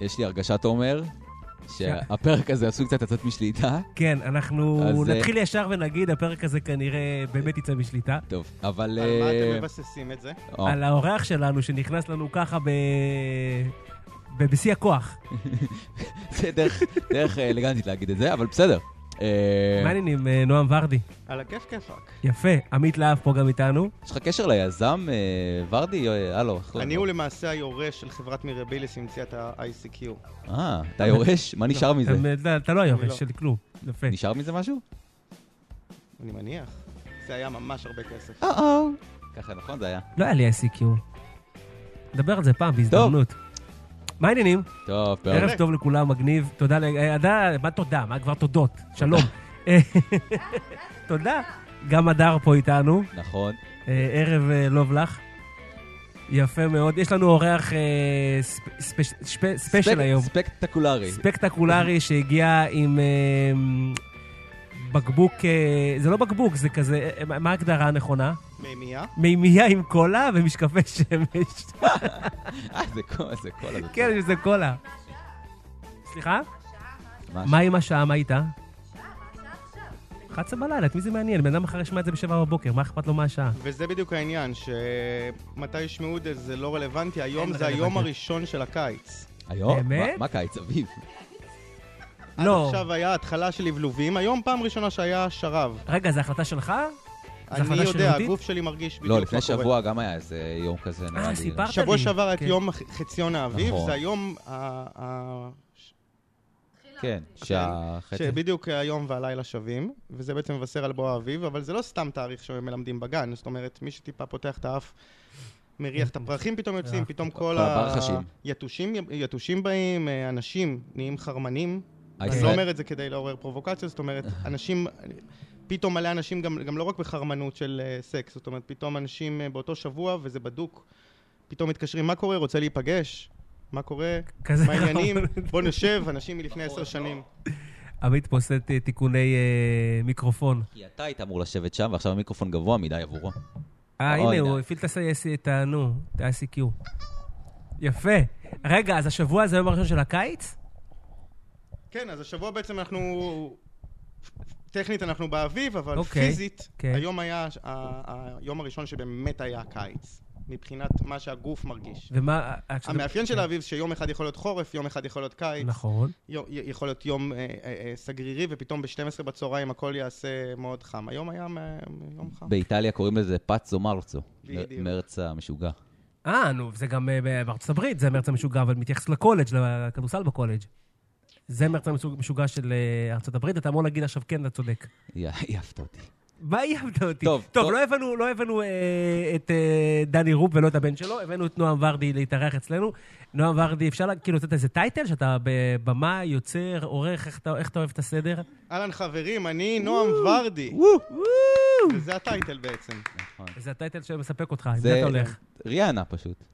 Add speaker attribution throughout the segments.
Speaker 1: יש לי הרגשת עומר, שהפרק הזה עשוי קצת לצאת משליטה.
Speaker 2: כן, אנחנו
Speaker 1: אז, אה,
Speaker 2: נתחיל ישר ונגיד, הפרק הזה כנראה באמת יצא משליטה.
Speaker 1: טוב, אבל...
Speaker 3: על מה
Speaker 1: אה,
Speaker 3: אתם מבססים את זה?
Speaker 1: או,
Speaker 2: על האורח שלנו שנכנס לנו ככה ב... ב- בשיא הכוח.
Speaker 1: זה דרך- דרך אה, אלגנטית להגיד את זה, אבל בסדר. אה,
Speaker 2: מה העניינים, אה, נועם ורדי?
Speaker 3: על הכיף כיפאק.
Speaker 2: יפה, עמית להב פה גם איתנו.
Speaker 1: יש לך קשר ליזם, אה, ורדי? אה, הלו. איך קוראים
Speaker 3: אני
Speaker 1: לו?
Speaker 3: הוא למעשה היורש של חברת מירביליס שהמציאה את ה-ICQ.
Speaker 1: אה, אתה יורש? מה נשאר מזה?
Speaker 2: אתה- אתה- אתה לא היורש
Speaker 3: לא.
Speaker 2: של כלום. יפה.
Speaker 1: נשאר מזה משהו?
Speaker 3: אני מניח. זה היה ממש הרבה כסף.
Speaker 2: אה,
Speaker 1: או-או. ככה, נכון? זה היה.
Speaker 2: לא היה לי ICQ. נדבר על זה פעם, בהזדמנות. מה העניינים?
Speaker 1: טוב, פרק.
Speaker 2: ערב טוב לכולם, מגניב. תודה ל... אה, עדה- מה תודה? מה כבר תודות? שלום. אה, תודה. גם הדר פה איתנו.
Speaker 1: נכון.
Speaker 2: אה, ערב אה, לוב לך. יפה מאוד. יש לנו אורח אה, ספ- ספ- ספ- ספיישל
Speaker 1: ספק-
Speaker 2: היום.
Speaker 3: אוקיי.
Speaker 1: ספקטקולרי.
Speaker 2: ספקטקולרי שהגיע עם אה, בקבוק, אה, זה לא בקבוק, זה כזה, אה, מה מה ההגדרה הנכונה?
Speaker 3: מימייה?
Speaker 2: מימייה עם קולה ומשקפי שמש.
Speaker 1: אה, זה כל זה כל הזה.
Speaker 2: כן, זה קולה. סליחה?
Speaker 1: ממש.
Speaker 2: כן. מה עם השעה? מה איתה? 11 בלילה, את מי זה מעניין? בן אדם אחר ישמע את זה בשבע בבוקר, מה אכפת לו מהשעה?
Speaker 3: וזה בדיוק העניין, שמתי ישמעו את זה זה לא רלוונטי, היום
Speaker 2: אין
Speaker 3: זה היום
Speaker 2: רלוונטי.
Speaker 3: הראשון של הקיץ.
Speaker 1: היום?
Speaker 2: באמת?
Speaker 1: מה- מה קיץ? אביב.
Speaker 2: לא.
Speaker 3: עכשיו היה התחלה של לבלובים, היום פעם ראשונה שהיה שרב.
Speaker 2: רגע, זו החלטה שלך?
Speaker 3: אני
Speaker 2: החלטה
Speaker 3: יודע,
Speaker 2: שרירותית?
Speaker 3: הגוף שלי מרגיש בדיוק
Speaker 1: לא,
Speaker 3: מה
Speaker 1: לפני
Speaker 3: קורה.
Speaker 1: שבוע גם היה איזה יום כזה, נראה לי.
Speaker 2: אה, סיפרת?
Speaker 3: שבוע
Speaker 2: לי.
Speaker 3: שעבר היה את
Speaker 2: כן.
Speaker 3: יום ח- חציון האביב,
Speaker 1: נכון.
Speaker 3: זה היום ה- ה-
Speaker 1: כן, שהחצי...
Speaker 3: שבדיוק היום והלילה שווים, וזה בעצם מבשר על בוא האביב, אבל זה לא סתם תאריך שמלמדים בגן, זאת אומרת, מי שטיפה פותח את האף, מריח את הפרחים פתאום יוצאים, פתאום כל
Speaker 1: כל הברחשים.
Speaker 3: היתושים יתושים באים, אה, אנשים נהיים חרמנים. אני
Speaker 1: הישראל-
Speaker 3: לא אומר את זה כדי לעורר פרובוקציה, זאת אומרת, אנשים... פתאום מלא אנשים, גם, גם לא רק בחרמנות של אה, סקס, זאת אומרת, פתאום אנשים אה, באותו שבוע, וזה בדוק, פתאום מתקשרים, מה קורה? רוצה להיפגש? מה קורה?
Speaker 2: כזה לא
Speaker 3: מה העניינים? בוא נשב, אנשים מלפני עשר שנים.
Speaker 2: עמית פה עושה אה, תיקוני אה, מיקרופון.
Speaker 1: כי אתה היית אמור לשבת שם, ועכשיו המיקרופון גבוה מדי עבורו.
Speaker 2: אה,
Speaker 1: אוי,
Speaker 2: הנה, הוא
Speaker 1: די.
Speaker 2: הפעיל את ה- את ה... נו, את ה-ICQ. יפה. רגע, אז השבוע זה היום הראשון של הקיץ?
Speaker 3: כן, אז השבוע בעצם אנחנו... טכנית אנחנו באביב, אבל okay.
Speaker 2: אוקיי,
Speaker 3: פיזית, okay.
Speaker 2: כן.
Speaker 3: היום היה הש- ה- היום הראשון שבאמת היה קיץ, מבחינת מה שהגוף מרגיש.
Speaker 2: ומה... אה, כשאתה-
Speaker 3: המאפיין של האביב שיום אחד יכול להיות חורף, יום אחד יכול להיות קיץ,
Speaker 2: נכון.
Speaker 3: יום, י- יכול להיות יום אה, אה, אה, סגרירי, ופתאום ב-12 בצהריים הכל יעשה מאוד חם. היום היה מ- יום חם.
Speaker 1: באיטליה קוראים לזה פאצו מרצו.
Speaker 3: בדיוק.
Speaker 1: מרץ המשוגע.
Speaker 2: אה, נו, זה גם אה, ב- בארצות הברית, זה מרץ המשוגע, אבל מתייחס לקולג', לכדורסל בקולג'. זה מרץ המשוגע של אה, ארצות הברית, אתה אמור להגיד עכשיו כן, אתה צודק.
Speaker 1: יא- העפת אותי.
Speaker 2: מה איימת אותי?
Speaker 1: טוב, טוב.
Speaker 2: טוב, לא הבאנו, לא הבאנו אה, את אה, דני רופ ולא את הבן שלו, הבאנו את נועם ורדי להתארח אצלנו. נועם ורדי, אפשר לה- כאילו לתת איזה טייטל, שאתה בבמה, יוצר, עורך, איך אתה- איך אתה אוהב את הסדר?
Speaker 3: אהלן חברים, אני נועם ורדי, וזה הטייטל בעצם.
Speaker 2: זה הטייטל שמספק אותך, עם
Speaker 1: זה
Speaker 2: זה אתה הולך.
Speaker 1: ריאנה פשוט.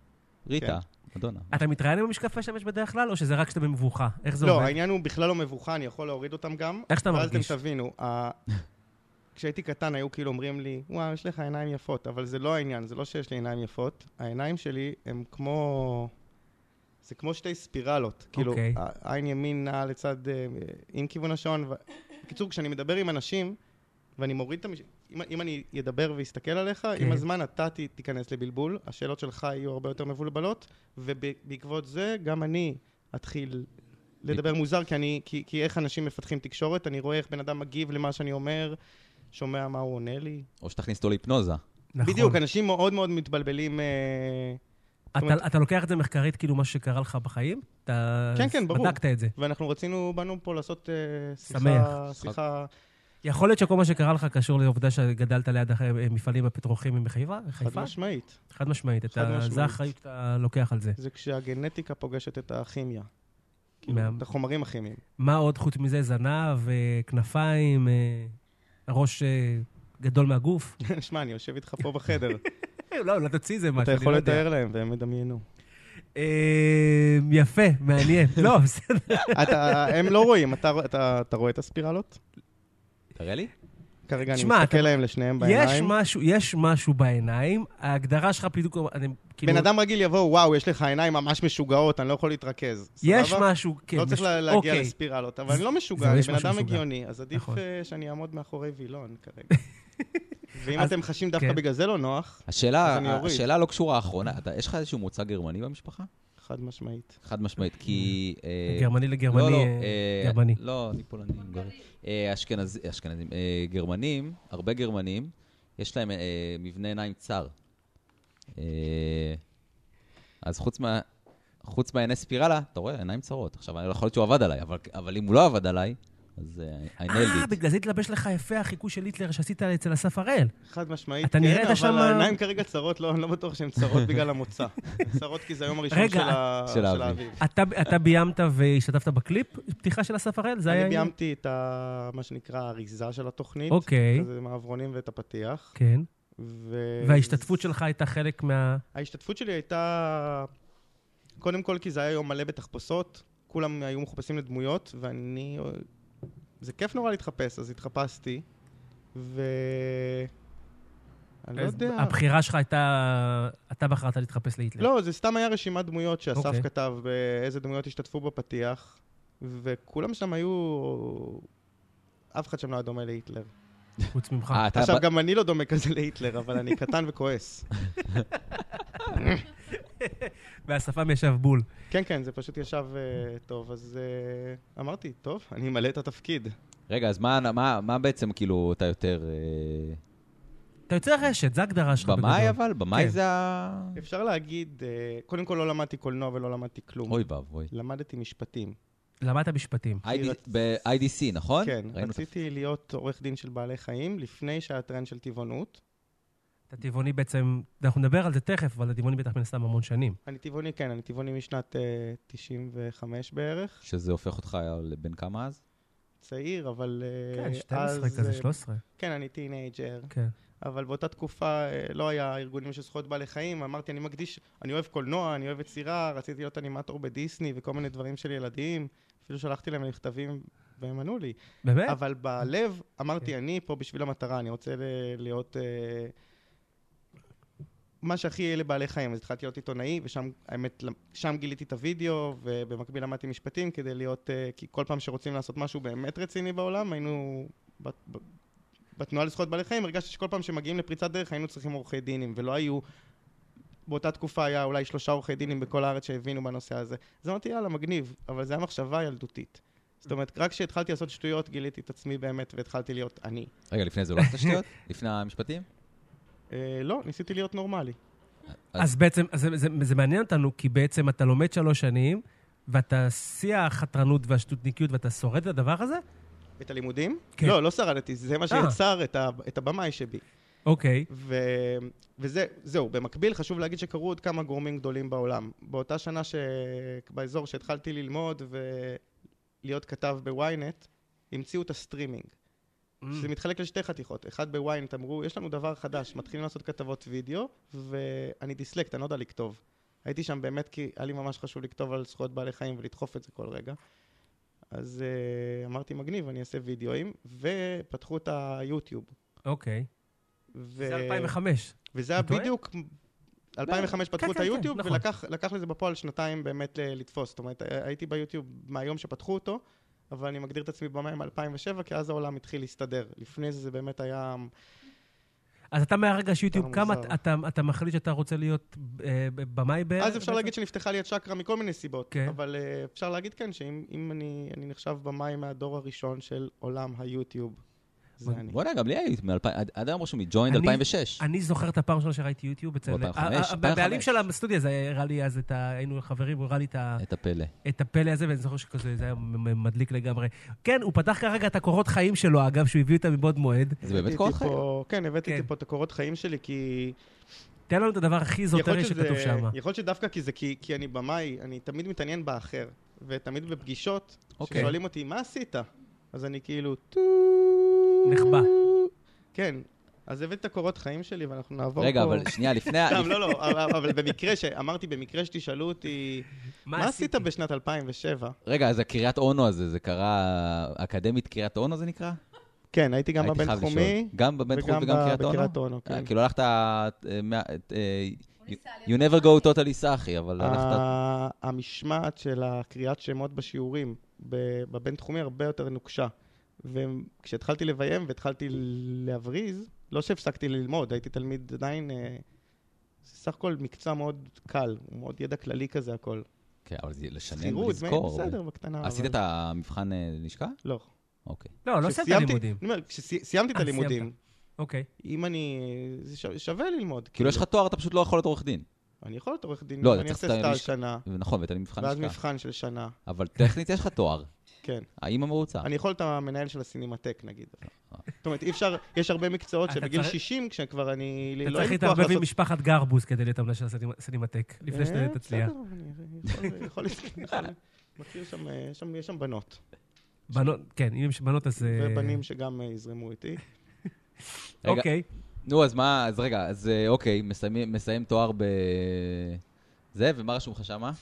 Speaker 1: ריטה,
Speaker 3: כן.
Speaker 1: מדונה.
Speaker 2: אתה מתראיין עם המשקפי שמש בדרך כלל, או שזה רק כשאתה במבוכה? איך זה
Speaker 3: לא,
Speaker 2: עובד?
Speaker 3: העניין הוא בכלל לא מבוכה, אני יכול להוריד אותם גם.
Speaker 2: איך שאתה
Speaker 3: ואז
Speaker 2: מרגיש.
Speaker 3: אתם תבינו, ה- כשהייתי קטן היו כאילו אומרים לי, וואו, יש לך עיניים יפות, אבל זה לא העניין, זה לא שיש לי עיניים יפות. העיניים שלי הם כמו... זה כמו שתי ספירלות. כאילו,
Speaker 2: אוקיי.
Speaker 3: ה- עין ימין נעה לצד... אה, עם כיוון השעון. ו- בקיצור, כשאני מדבר עם אנשים, ואני מוריד את המש... אם, אם אני אדבר ואסתכל עליך,
Speaker 2: כן.
Speaker 3: כן. עם הזמן אתה ת- תיכנס לבלבול, השאלות שלך יהיו הרבה יותר מבולבלות, ובעקבות זה גם אני אתחיל לדבר מוזר, כי, אני, כי, כי איך אנשים מפתחים תקשורת, אני רואה איך בן אדם מגיב למה שאני אומר, שומע מה הוא עונה לי.
Speaker 1: או שתכניס אותו להיפנוזה.
Speaker 2: נכון.
Speaker 3: בדיוק, אנשים מאוד מאוד מתבלבלים. אה,
Speaker 2: אתה, אתה לוקח את זה מחקרית, כאילו, מה שקרה לך בחיים? אתה...
Speaker 3: כן, כן, ברור.
Speaker 2: בדקת את זה.
Speaker 3: ואנחנו רצינו, באנו פה לעשות אה, שיחה,
Speaker 2: שמח.
Speaker 3: שיחה,
Speaker 2: יכול להיות שכל מה שקרה לך קשור לעובדה שגדלת ליד הח- מפעלים הפטרוכימיים בחיפה?
Speaker 3: חד
Speaker 2: חיפה?
Speaker 3: משמעית.
Speaker 2: חד משמעית. אתה-
Speaker 3: חד משמעית.
Speaker 2: זה האחריות שאתה לוקח על זה.
Speaker 3: זה כשהגנטיקה פוגשת את הכימיה.
Speaker 2: מה-
Speaker 3: את החומרים הכימיים.
Speaker 2: מה עוד חוץ מזה? זנב, אה, כנפיים, אה, ראש אה, גדול מהגוף?
Speaker 3: שמע, אני יושב איתך פה בחדר.
Speaker 2: אה, לא, לא תוציא איזה משהו,
Speaker 3: אתה
Speaker 2: אני
Speaker 3: יכול
Speaker 2: לא יודע.
Speaker 3: לתאר להם והם ידמיינו.
Speaker 2: אה, יפה, מעניין. לא, בסדר.
Speaker 3: אתה- הם לא רואים, אתה- אתה אתה רואה את הספירלות?
Speaker 1: תראה לי?
Speaker 3: כרגע אני
Speaker 2: תשמע,
Speaker 3: מסתכל
Speaker 2: אתה-
Speaker 3: להם לשניהם
Speaker 2: יש
Speaker 3: בעיניים.
Speaker 2: משהו, יש משהו בעיניים, ההגדרה שלך בדיוק, אני כאילו...
Speaker 3: בן אדם רגיל יבוא, וואו, יש לך עיניים ממש משוגעות, אני לא יכול להתרכז.
Speaker 2: יש
Speaker 3: סבבה?
Speaker 2: משהו, כן.
Speaker 3: לא צריך
Speaker 2: מש-
Speaker 3: לה- להגיע
Speaker 2: אוקיי.
Speaker 3: לספירלות, אבל אני לא
Speaker 2: זה
Speaker 3: משוגע, אני
Speaker 2: יש
Speaker 3: בן
Speaker 2: משהו
Speaker 3: אדם
Speaker 2: משוגע.
Speaker 3: הגיוני, אז עדיף
Speaker 2: נכון.
Speaker 3: אה, שאני אעמוד מאחורי וילון כרגע. ואם
Speaker 2: אז-
Speaker 3: אתם חשים דווקא
Speaker 2: כן.
Speaker 3: בגלל זה לא נוח,
Speaker 1: השאלה,
Speaker 3: אז אני אוריד.
Speaker 1: השאלה לא קשורה האחרונה. אתה, יש לך איזשהו מוצא גרמני במשפחה?
Speaker 3: חד משמעית.
Speaker 1: חד משמעית, כי... אה,
Speaker 2: גרמני לגרמני,
Speaker 1: לא, לא,
Speaker 2: אה,
Speaker 1: אה,
Speaker 2: גרמני.
Speaker 1: לא, אני פולני, גרמני. אה, אשכנז- אשכנזים, אה, גרמנים, הרבה גרמנים, יש להם אה, מבנה עיניים צר. אה, אז חוץ מה... חוץ מהעיני ספירלה, אתה רואה, עיניים צרות. עכשיו, אני- לא, יכול להיות שהוא עבד עליי, אבל- אבל אם הוא לא עבד עליי, אז אה, I
Speaker 2: אה,
Speaker 1: nailed it.
Speaker 2: בגלל זה התלבש לך יפה החיקוי של היטלר שעשית אצל אסף הראל.
Speaker 3: חד משמעית,
Speaker 2: אתה נראית
Speaker 3: כן,
Speaker 2: שמה-
Speaker 3: אבל העיניים כרגע צרות, לא, אני לא בטוח שהן צרות בגלל המוצא. צרות כי זה היום הראשון
Speaker 2: רגע,
Speaker 3: של ה-
Speaker 1: של
Speaker 3: של
Speaker 1: האביב.
Speaker 3: האביב.
Speaker 2: אתה אתה ביימת והשתתפת בקליפ פתיחה של אסף הראל? זה היה...
Speaker 3: אני
Speaker 2: העניין?
Speaker 3: ביימתי את ה- מה שנקרא האריזה של התוכנית.
Speaker 2: אוקיי.
Speaker 3: כזה מעברונים ואת הפתיח.
Speaker 2: כן.
Speaker 3: ו-
Speaker 2: וההשתתפות שלך הייתה חלק מה...
Speaker 3: ההשתתפות שלי הייתה, קודם כל כי זה היה יום מלא בתחפושות, כולם היו מחופשים לדמויות, ואני... זה כיף נורא להתחפש, אז התחפשתי, ו... אני לא
Speaker 2: אז
Speaker 3: יודע.
Speaker 2: הבחירה שלך הייתה... אתה בחרת להתחפש להיטלר.
Speaker 3: לא, זה סתם היה רשימת דמויות שאסף
Speaker 2: אוקיי.
Speaker 3: כתב, באיזה דמויות השתתפו בפתיח, וכולם שם היו... אף אחד שם לא היה דומה להיטלר.
Speaker 2: חוץ ממך.
Speaker 1: אה, אתה
Speaker 3: עכשיו,
Speaker 1: ב-
Speaker 3: גם אני לא דומה כזה להיטלר, אבל אני קטן וכועס.
Speaker 2: והשפם ישב בול.
Speaker 3: כן, כן, זה פשוט ישב אה, טוב, אז אה, אמרתי, טוב, אני אמלא את התפקיד.
Speaker 1: רגע, אז מה- מה מה בעצם, כאילו, אתה יותר... אה,
Speaker 2: אתה יוצר רשת, זו ההגדרה שלך בגדול.
Speaker 1: במאי, אבל? במאי
Speaker 2: כן.
Speaker 1: זה ה...
Speaker 3: אפשר להגיד, אה, קודם כל לא למדתי קולנוע ולא למדתי כלום.
Speaker 1: אוי ואבוי.
Speaker 3: למדתי משפטים.
Speaker 2: למדת משפטים.
Speaker 1: ID
Speaker 3: רצ-
Speaker 1: ב-IDC, נכון?
Speaker 3: כן,
Speaker 1: ראינו את
Speaker 3: רציתי להיות עורך דין של בעלי חיים לפני שהיה טרנד של טבעונות.
Speaker 2: אתה טבעוני בעצם, אנחנו נדבר על זה תכף, אבל אתה טבעוני בטח מן הסתם המון שנים.
Speaker 3: אני טבעוני, כן, אני טבעוני משנת אה, 95 בערך.
Speaker 1: שזה הופך אותך לבן כמה אז?
Speaker 3: צעיר, אבל אה,
Speaker 2: כן,
Speaker 3: אז...
Speaker 2: 12 כזה,
Speaker 3: אה,
Speaker 2: 13.
Speaker 3: כן, אני טינג'ר.
Speaker 2: כן.
Speaker 3: אבל באותה תקופה אה, לא היה ארגונים של זכויות בעלי חיים, אמרתי, אני מקדיש, אני אוהב קולנוע, אני אוהב יצירה, רציתי להיות אנימטור בדיסני וכל מיני דברים של ילדים, אפילו שלחתי להם מכתבים והם ענו לי.
Speaker 2: באמת?
Speaker 3: אבל בלב
Speaker 2: כן.
Speaker 3: אמרתי, אני פה בשביל המטרה, אני רוצה ל- להיות... אה, מה שהכי יהיה לבעלי חיים, אז התחלתי להיות עיתונאי, ושם, האמת, למ- שם גיליתי את הוידאו, ובמקביל למדתי משפטים כדי להיות, אה, כי כל פעם שרוצים לעשות משהו באמת רציני בעולם, היינו, בת- ב- בתנועה לזכויות בעלי חיים, הרגשתי שכל פעם שמגיעים לפריצת דרך היינו צריכים עורכי דינים, ולא היו, באותה תקופה היה אולי שלושה עורכי דינים בכל הארץ שהבינו בנושא הזה. אז אמרתי, יאללה, מגניב, אבל זו הייתה מחשבה ילדותית. זאת אומרת, רק כשהתחלתי לעשות שטויות, גיליתי את עצמי באמת, והתחלתי להיות אני.
Speaker 1: רגע, לפני זה לא עשית שטויות? לפני המשפטים?
Speaker 3: אה, לא, ניסיתי להיות נורמלי.
Speaker 2: אז בעצם, אז זה- זה- זה מעניין אותנו, כי בעצם אתה לומד שלוש שנים, ואתה שיא החתרנות והשטותניקיות, ואתה שורד את הדבר הזה?
Speaker 3: את הלימודים?
Speaker 2: כן.
Speaker 3: לא, לא שרדתי, זה מה
Speaker 2: אה.
Speaker 3: שיצר את, ה, את הבמאי שבי.
Speaker 2: אוקיי.
Speaker 3: ו, וזהו, במקביל חשוב להגיד שקרו עוד כמה גורמים גדולים בעולם. באותה שנה ש... באזור שהתחלתי ללמוד ולהיות כתב בוויינט, המציאו את הסטרימינג.
Speaker 2: Mm.
Speaker 3: שזה מתחלק לשתי חתיכות. אחד בוויינט אמרו, יש לנו דבר חדש, מתחילים לעשות כתבות וידאו, ואני דיסלקט, אני לא יודע לכתוב. הייתי שם באמת כי היה לי ממש חשוב לכתוב על זכויות בעלי חיים ולדחוף את זה כל רגע. אז uh, אמרתי, מגניב, אני אעשה וידאוים, ופתחו את היוטיוב.
Speaker 2: אוקיי.
Speaker 3: ו...
Speaker 2: זה 2005.
Speaker 3: וזה היה
Speaker 2: אתה טועה?
Speaker 3: בדיוק... 2005
Speaker 2: כן,
Speaker 3: פתחו את
Speaker 2: כן, כן,
Speaker 3: היוטיוב,
Speaker 2: נכון.
Speaker 3: ולקח לקח לזה בפועל שנתיים באמת ל- לתפוס. זאת אומרת, אה, הייתי ביוטיוב מהיום שפתחו אותו, אבל אני מגדיר את עצמי במאי מ-2007, כי אז העולם התחיל להסתדר. לפני זה זה באמת היה...
Speaker 2: אז אתה מהרגע שיוטיוב,
Speaker 3: אתה
Speaker 2: כמה
Speaker 3: מוזר.
Speaker 2: אתה- אתה- אתה מחליט שאתה רוצה להיות אה, במאי
Speaker 1: כן,
Speaker 2: בערך?
Speaker 3: אז אפשר להגיד שנפתחה לי הצ'קרה מכל מיני סיבות,
Speaker 2: כן.
Speaker 3: אבל אה, אפשר להגיד כן, שאם אם אני אני נחשב במאי מהדור הראשון של עולם היוטיוב, זה אני.
Speaker 1: בוא'נה, גם לי היו, מאלפיים- עד- עד היום רשום לי ג'וינד
Speaker 2: אני-
Speaker 1: 2006.
Speaker 2: אני זוכר את הפעם הראשונה שראיתי יוטיוב אצל...
Speaker 1: 2005,
Speaker 2: ה- ה-
Speaker 1: 2005.
Speaker 2: הבעלים של הסטודיו הזה הראה לי אז את ה... היינו חברים, הוא הראה לי את ה...
Speaker 1: את הפלא.
Speaker 2: את הפלא הזה, ואני זוכר שכזה, זה היה מ- מ- מדליק לגמרי. כן, הוא פתח כרגע את הקורות חיים שלו, אגב, שהוא הביא אותם מבעוד מועד.
Speaker 1: זה
Speaker 3: הבאתי
Speaker 1: באמת כוח
Speaker 3: איתי
Speaker 1: חיים.
Speaker 3: פה- כן, הבאתי איתי
Speaker 2: כן.
Speaker 3: פה את הקורות חיים שלי, כי...
Speaker 2: תן לנו את הדבר הכי זוטרי
Speaker 3: יכול להיות
Speaker 2: שכתוב
Speaker 3: שזה-
Speaker 2: שם.
Speaker 3: יכול להיות שדווקא כי זה, כי, כי אני במאי, אני תמיד מתעניין באחר, ותמיד בפגישות,
Speaker 1: אוקיי.
Speaker 3: ששואלים אותי, מה עשית? אז אני כאילו, טו...
Speaker 2: נחבא.
Speaker 3: כן, אז הבאתי את הקורות חיים שלי, ואנחנו נעבור
Speaker 1: רגע,
Speaker 3: פה...
Speaker 1: אבל שנייה, לפני ה...
Speaker 3: סתם, לא, לא, אבל- אבל במקרה ש... אמרתי, במקרה שתשאלו אותי, מה עשית
Speaker 2: עשיתי?
Speaker 3: בשנת 2007?
Speaker 1: רגע, אז הקריית אונו הזה, זה קרה... אקדמית קריית אונו זה נקרא?
Speaker 3: כן, הייתי גם
Speaker 1: הייתי חייב
Speaker 3: בבינתחומי,
Speaker 1: לשאול. גם בבינתחומי
Speaker 3: וגם
Speaker 1: וגם
Speaker 3: ב-
Speaker 1: קריית אונו?
Speaker 3: בקריית אונו,
Speaker 1: אה,
Speaker 3: כן.
Speaker 1: כאילו הלכת... אה, מה- אה,
Speaker 4: הוא ניסה
Speaker 1: You
Speaker 4: להיות
Speaker 1: never go totally סאחי, אבל לא הלכת...
Speaker 3: ה- המשמעת של הקריאת שמות בשיעורים ב- בבינתחומי הרבה יותר נוקשה. וכשהתחלתי לביים והתחלתי להבריז, לא שהפסקתי ללמוד, הייתי תלמיד עדיין... אה, זה סך הכל מקצוע מאוד קל, הוא מאוד ידע כללי כזה הכל.
Speaker 1: כן, אבל זה לשנן
Speaker 3: שכירות,
Speaker 1: ולזכור.
Speaker 3: בסדר, בקטנה.
Speaker 1: עשית
Speaker 3: אבל-
Speaker 1: את המבחן אה, לשכה?
Speaker 3: לא.
Speaker 1: אוקיי.
Speaker 2: לא, לא סיימת
Speaker 3: כשסיימתי-
Speaker 2: לימודים.
Speaker 3: אני אומר, כשסיימתי את
Speaker 2: אה,
Speaker 3: הלימודים,
Speaker 2: סיימת. אוקיי.
Speaker 3: אם אני... זה שו- שווה ללמוד.
Speaker 1: כאילו יש לך תואר, אתה פשוט לא יכול להיות עורך דין.
Speaker 3: אני יכול להיות עורך דין,
Speaker 1: לא, אתה
Speaker 3: אם אני
Speaker 1: צריך
Speaker 3: אעשה
Speaker 1: את
Speaker 3: סטאז'
Speaker 1: הלשכה.
Speaker 3: שנה,
Speaker 1: נכון, ואתה מבחן
Speaker 3: ואז
Speaker 1: לשכה.
Speaker 3: מבחן של שנה,
Speaker 1: אבל טכנית יש לך תואר.
Speaker 3: כן.
Speaker 1: האמא מרוצה.
Speaker 3: אני יכול להיות המנהל של הסינמטק, נגיד.
Speaker 1: אה.
Speaker 3: זאת אומרת, אי אפשר, יש הרבה מקצועות
Speaker 2: אה, אתה
Speaker 3: שבגיל
Speaker 2: צריך-
Speaker 3: 60, כשכבר אני...
Speaker 2: אתה
Speaker 3: לא
Speaker 2: צריך
Speaker 3: אין לי כוח
Speaker 2: להתערבב עם
Speaker 3: לעשות...
Speaker 2: משפחת גרבוז כדי להיות המנהל של הסינמטק, לפני
Speaker 3: אה,
Speaker 2: שתצליח.
Speaker 3: בסדר, אני יכול- יכול... יכול- מכיר שם, אה, שם, יש שם בנות.
Speaker 2: בנות, כן, אם יש בנות אז... אה,
Speaker 3: ובנים שגם אה, יזרמו איתי.
Speaker 1: רגע,
Speaker 2: אוקיי.
Speaker 1: נו, אז מה, אז רגע, אז אה, אוקיי, מסיימים- מסיים תואר ב... זה, ומה רשום לך שמה?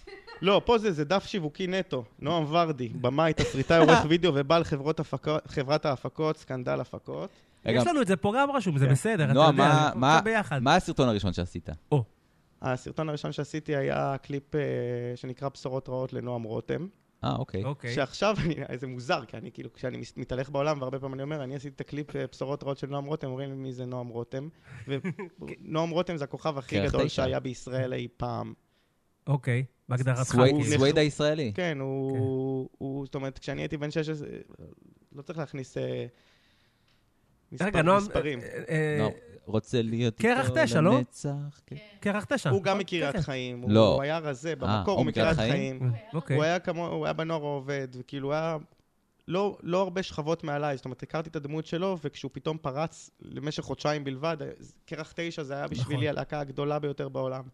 Speaker 3: לא, פה זה, זה דף שיווקי נטו. נועם ורדי, במאי, תסריטאי, עורך וידאו ובעל חברות הפקות- חברת ההפקות, סקנדל הפקות.
Speaker 1: רגע,
Speaker 2: יש לנו את זה פה גם רשום, זה
Speaker 3: כן.
Speaker 2: בסדר, אתה
Speaker 1: נועה,
Speaker 2: יודע,
Speaker 1: מה-
Speaker 2: אנחנו
Speaker 1: מה-
Speaker 2: פה ביחד.
Speaker 1: מה הסרטון הראשון שעשית?
Speaker 3: הסרטון הראשון שעשיתי היה קליפ אה, שנקרא בשורות רעות לנועם רותם.
Speaker 1: אה, אוקיי.
Speaker 2: אוקיי.
Speaker 3: שעכשיו, אני, זה מוזר, כי אני כאילו, כשאני מס- מתהלך בעולם, והרבה פעמים אני אומר, אני עשיתי את הקליפ אה, בשורות רעות של נועם רותם, אומרים לי מי זה נועם רותם.
Speaker 2: כן.
Speaker 3: ונועם רותם זה הכוכב הכי
Speaker 1: קרח
Speaker 3: גדול
Speaker 1: כן. תשע.
Speaker 3: שהיה בישראל אי פעם.
Speaker 2: אוקיי, בהגדרתך.
Speaker 1: סווייד-
Speaker 3: הוא נחשב-
Speaker 1: סווייד הישראלי.
Speaker 3: כן, הוא, הוא, זאת אומרת, כשאני הייתי בן 16, לא צריך להכניס אה, מספר-
Speaker 2: רגע, נועם...
Speaker 3: מספרים.
Speaker 2: אה, אה,
Speaker 1: נועם, רוצה להיות
Speaker 2: קרח תשע, לא?
Speaker 1: לנצח. כן.
Speaker 2: קרח תשע.
Speaker 3: הוא גם
Speaker 2: אה,
Speaker 3: מקריית
Speaker 2: כן, כן.
Speaker 3: חיים,
Speaker 1: לא.
Speaker 3: הוא היה רזה, במקור
Speaker 1: הוא
Speaker 3: הוא מקריית
Speaker 1: מקריית חיים?
Speaker 3: חיים. הוא
Speaker 2: אוקיי.
Speaker 3: היה כמו, הוא היה בנוער העובד, וכאילו הוא היה לא, לא הרבה שכבות מעליי, זאת אומרת, הכרתי את הדמות שלו, וכשהוא פתאום פרץ למשך חודשיים בלבד, אז קרח תשע זה היה בשבילי
Speaker 2: נכון.
Speaker 3: הלהקה הגדולה ביותר בעולם.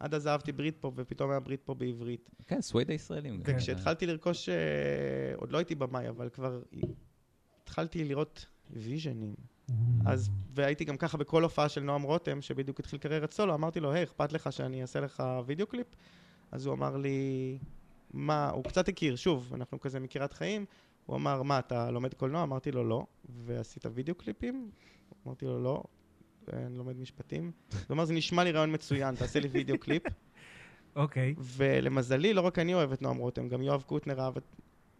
Speaker 3: עד אז אהבתי ברית פופ, ופתאום היה ברית פופ בעברית.
Speaker 1: כן, סווייד הישראלים.
Speaker 2: כן.
Speaker 3: וכשהתחלתי לרכוש, אה, עוד לא הייתי במאי, אבל כבר התחלתי לראות ויז'נים. אז, והייתי גם ככה בכל הופעה של נועם רותם, שבדיוק התחיל קריירת סולו, אמרתי לו, היי, אכפת לך שאני אעשה לך וידאו קליפ? אז הוא אמר לי, מה, הוא קצת הכיר, שוב, אנחנו כזה מקריית חיים, הוא אמר, מה, אתה לומד קולנוע? אמרתי לו, לא. ועשית וידאו קליפים? אמרתי לו, לא. אני לומד משפטים. הוא אמר, זה נשמע לי רעיון מצוין, תעשה לי וידאו קליפ.
Speaker 2: אוקיי.
Speaker 3: ולמזלי, לא רק אני אוהב את נועם רותם, גם יואב קוטנר אהב את,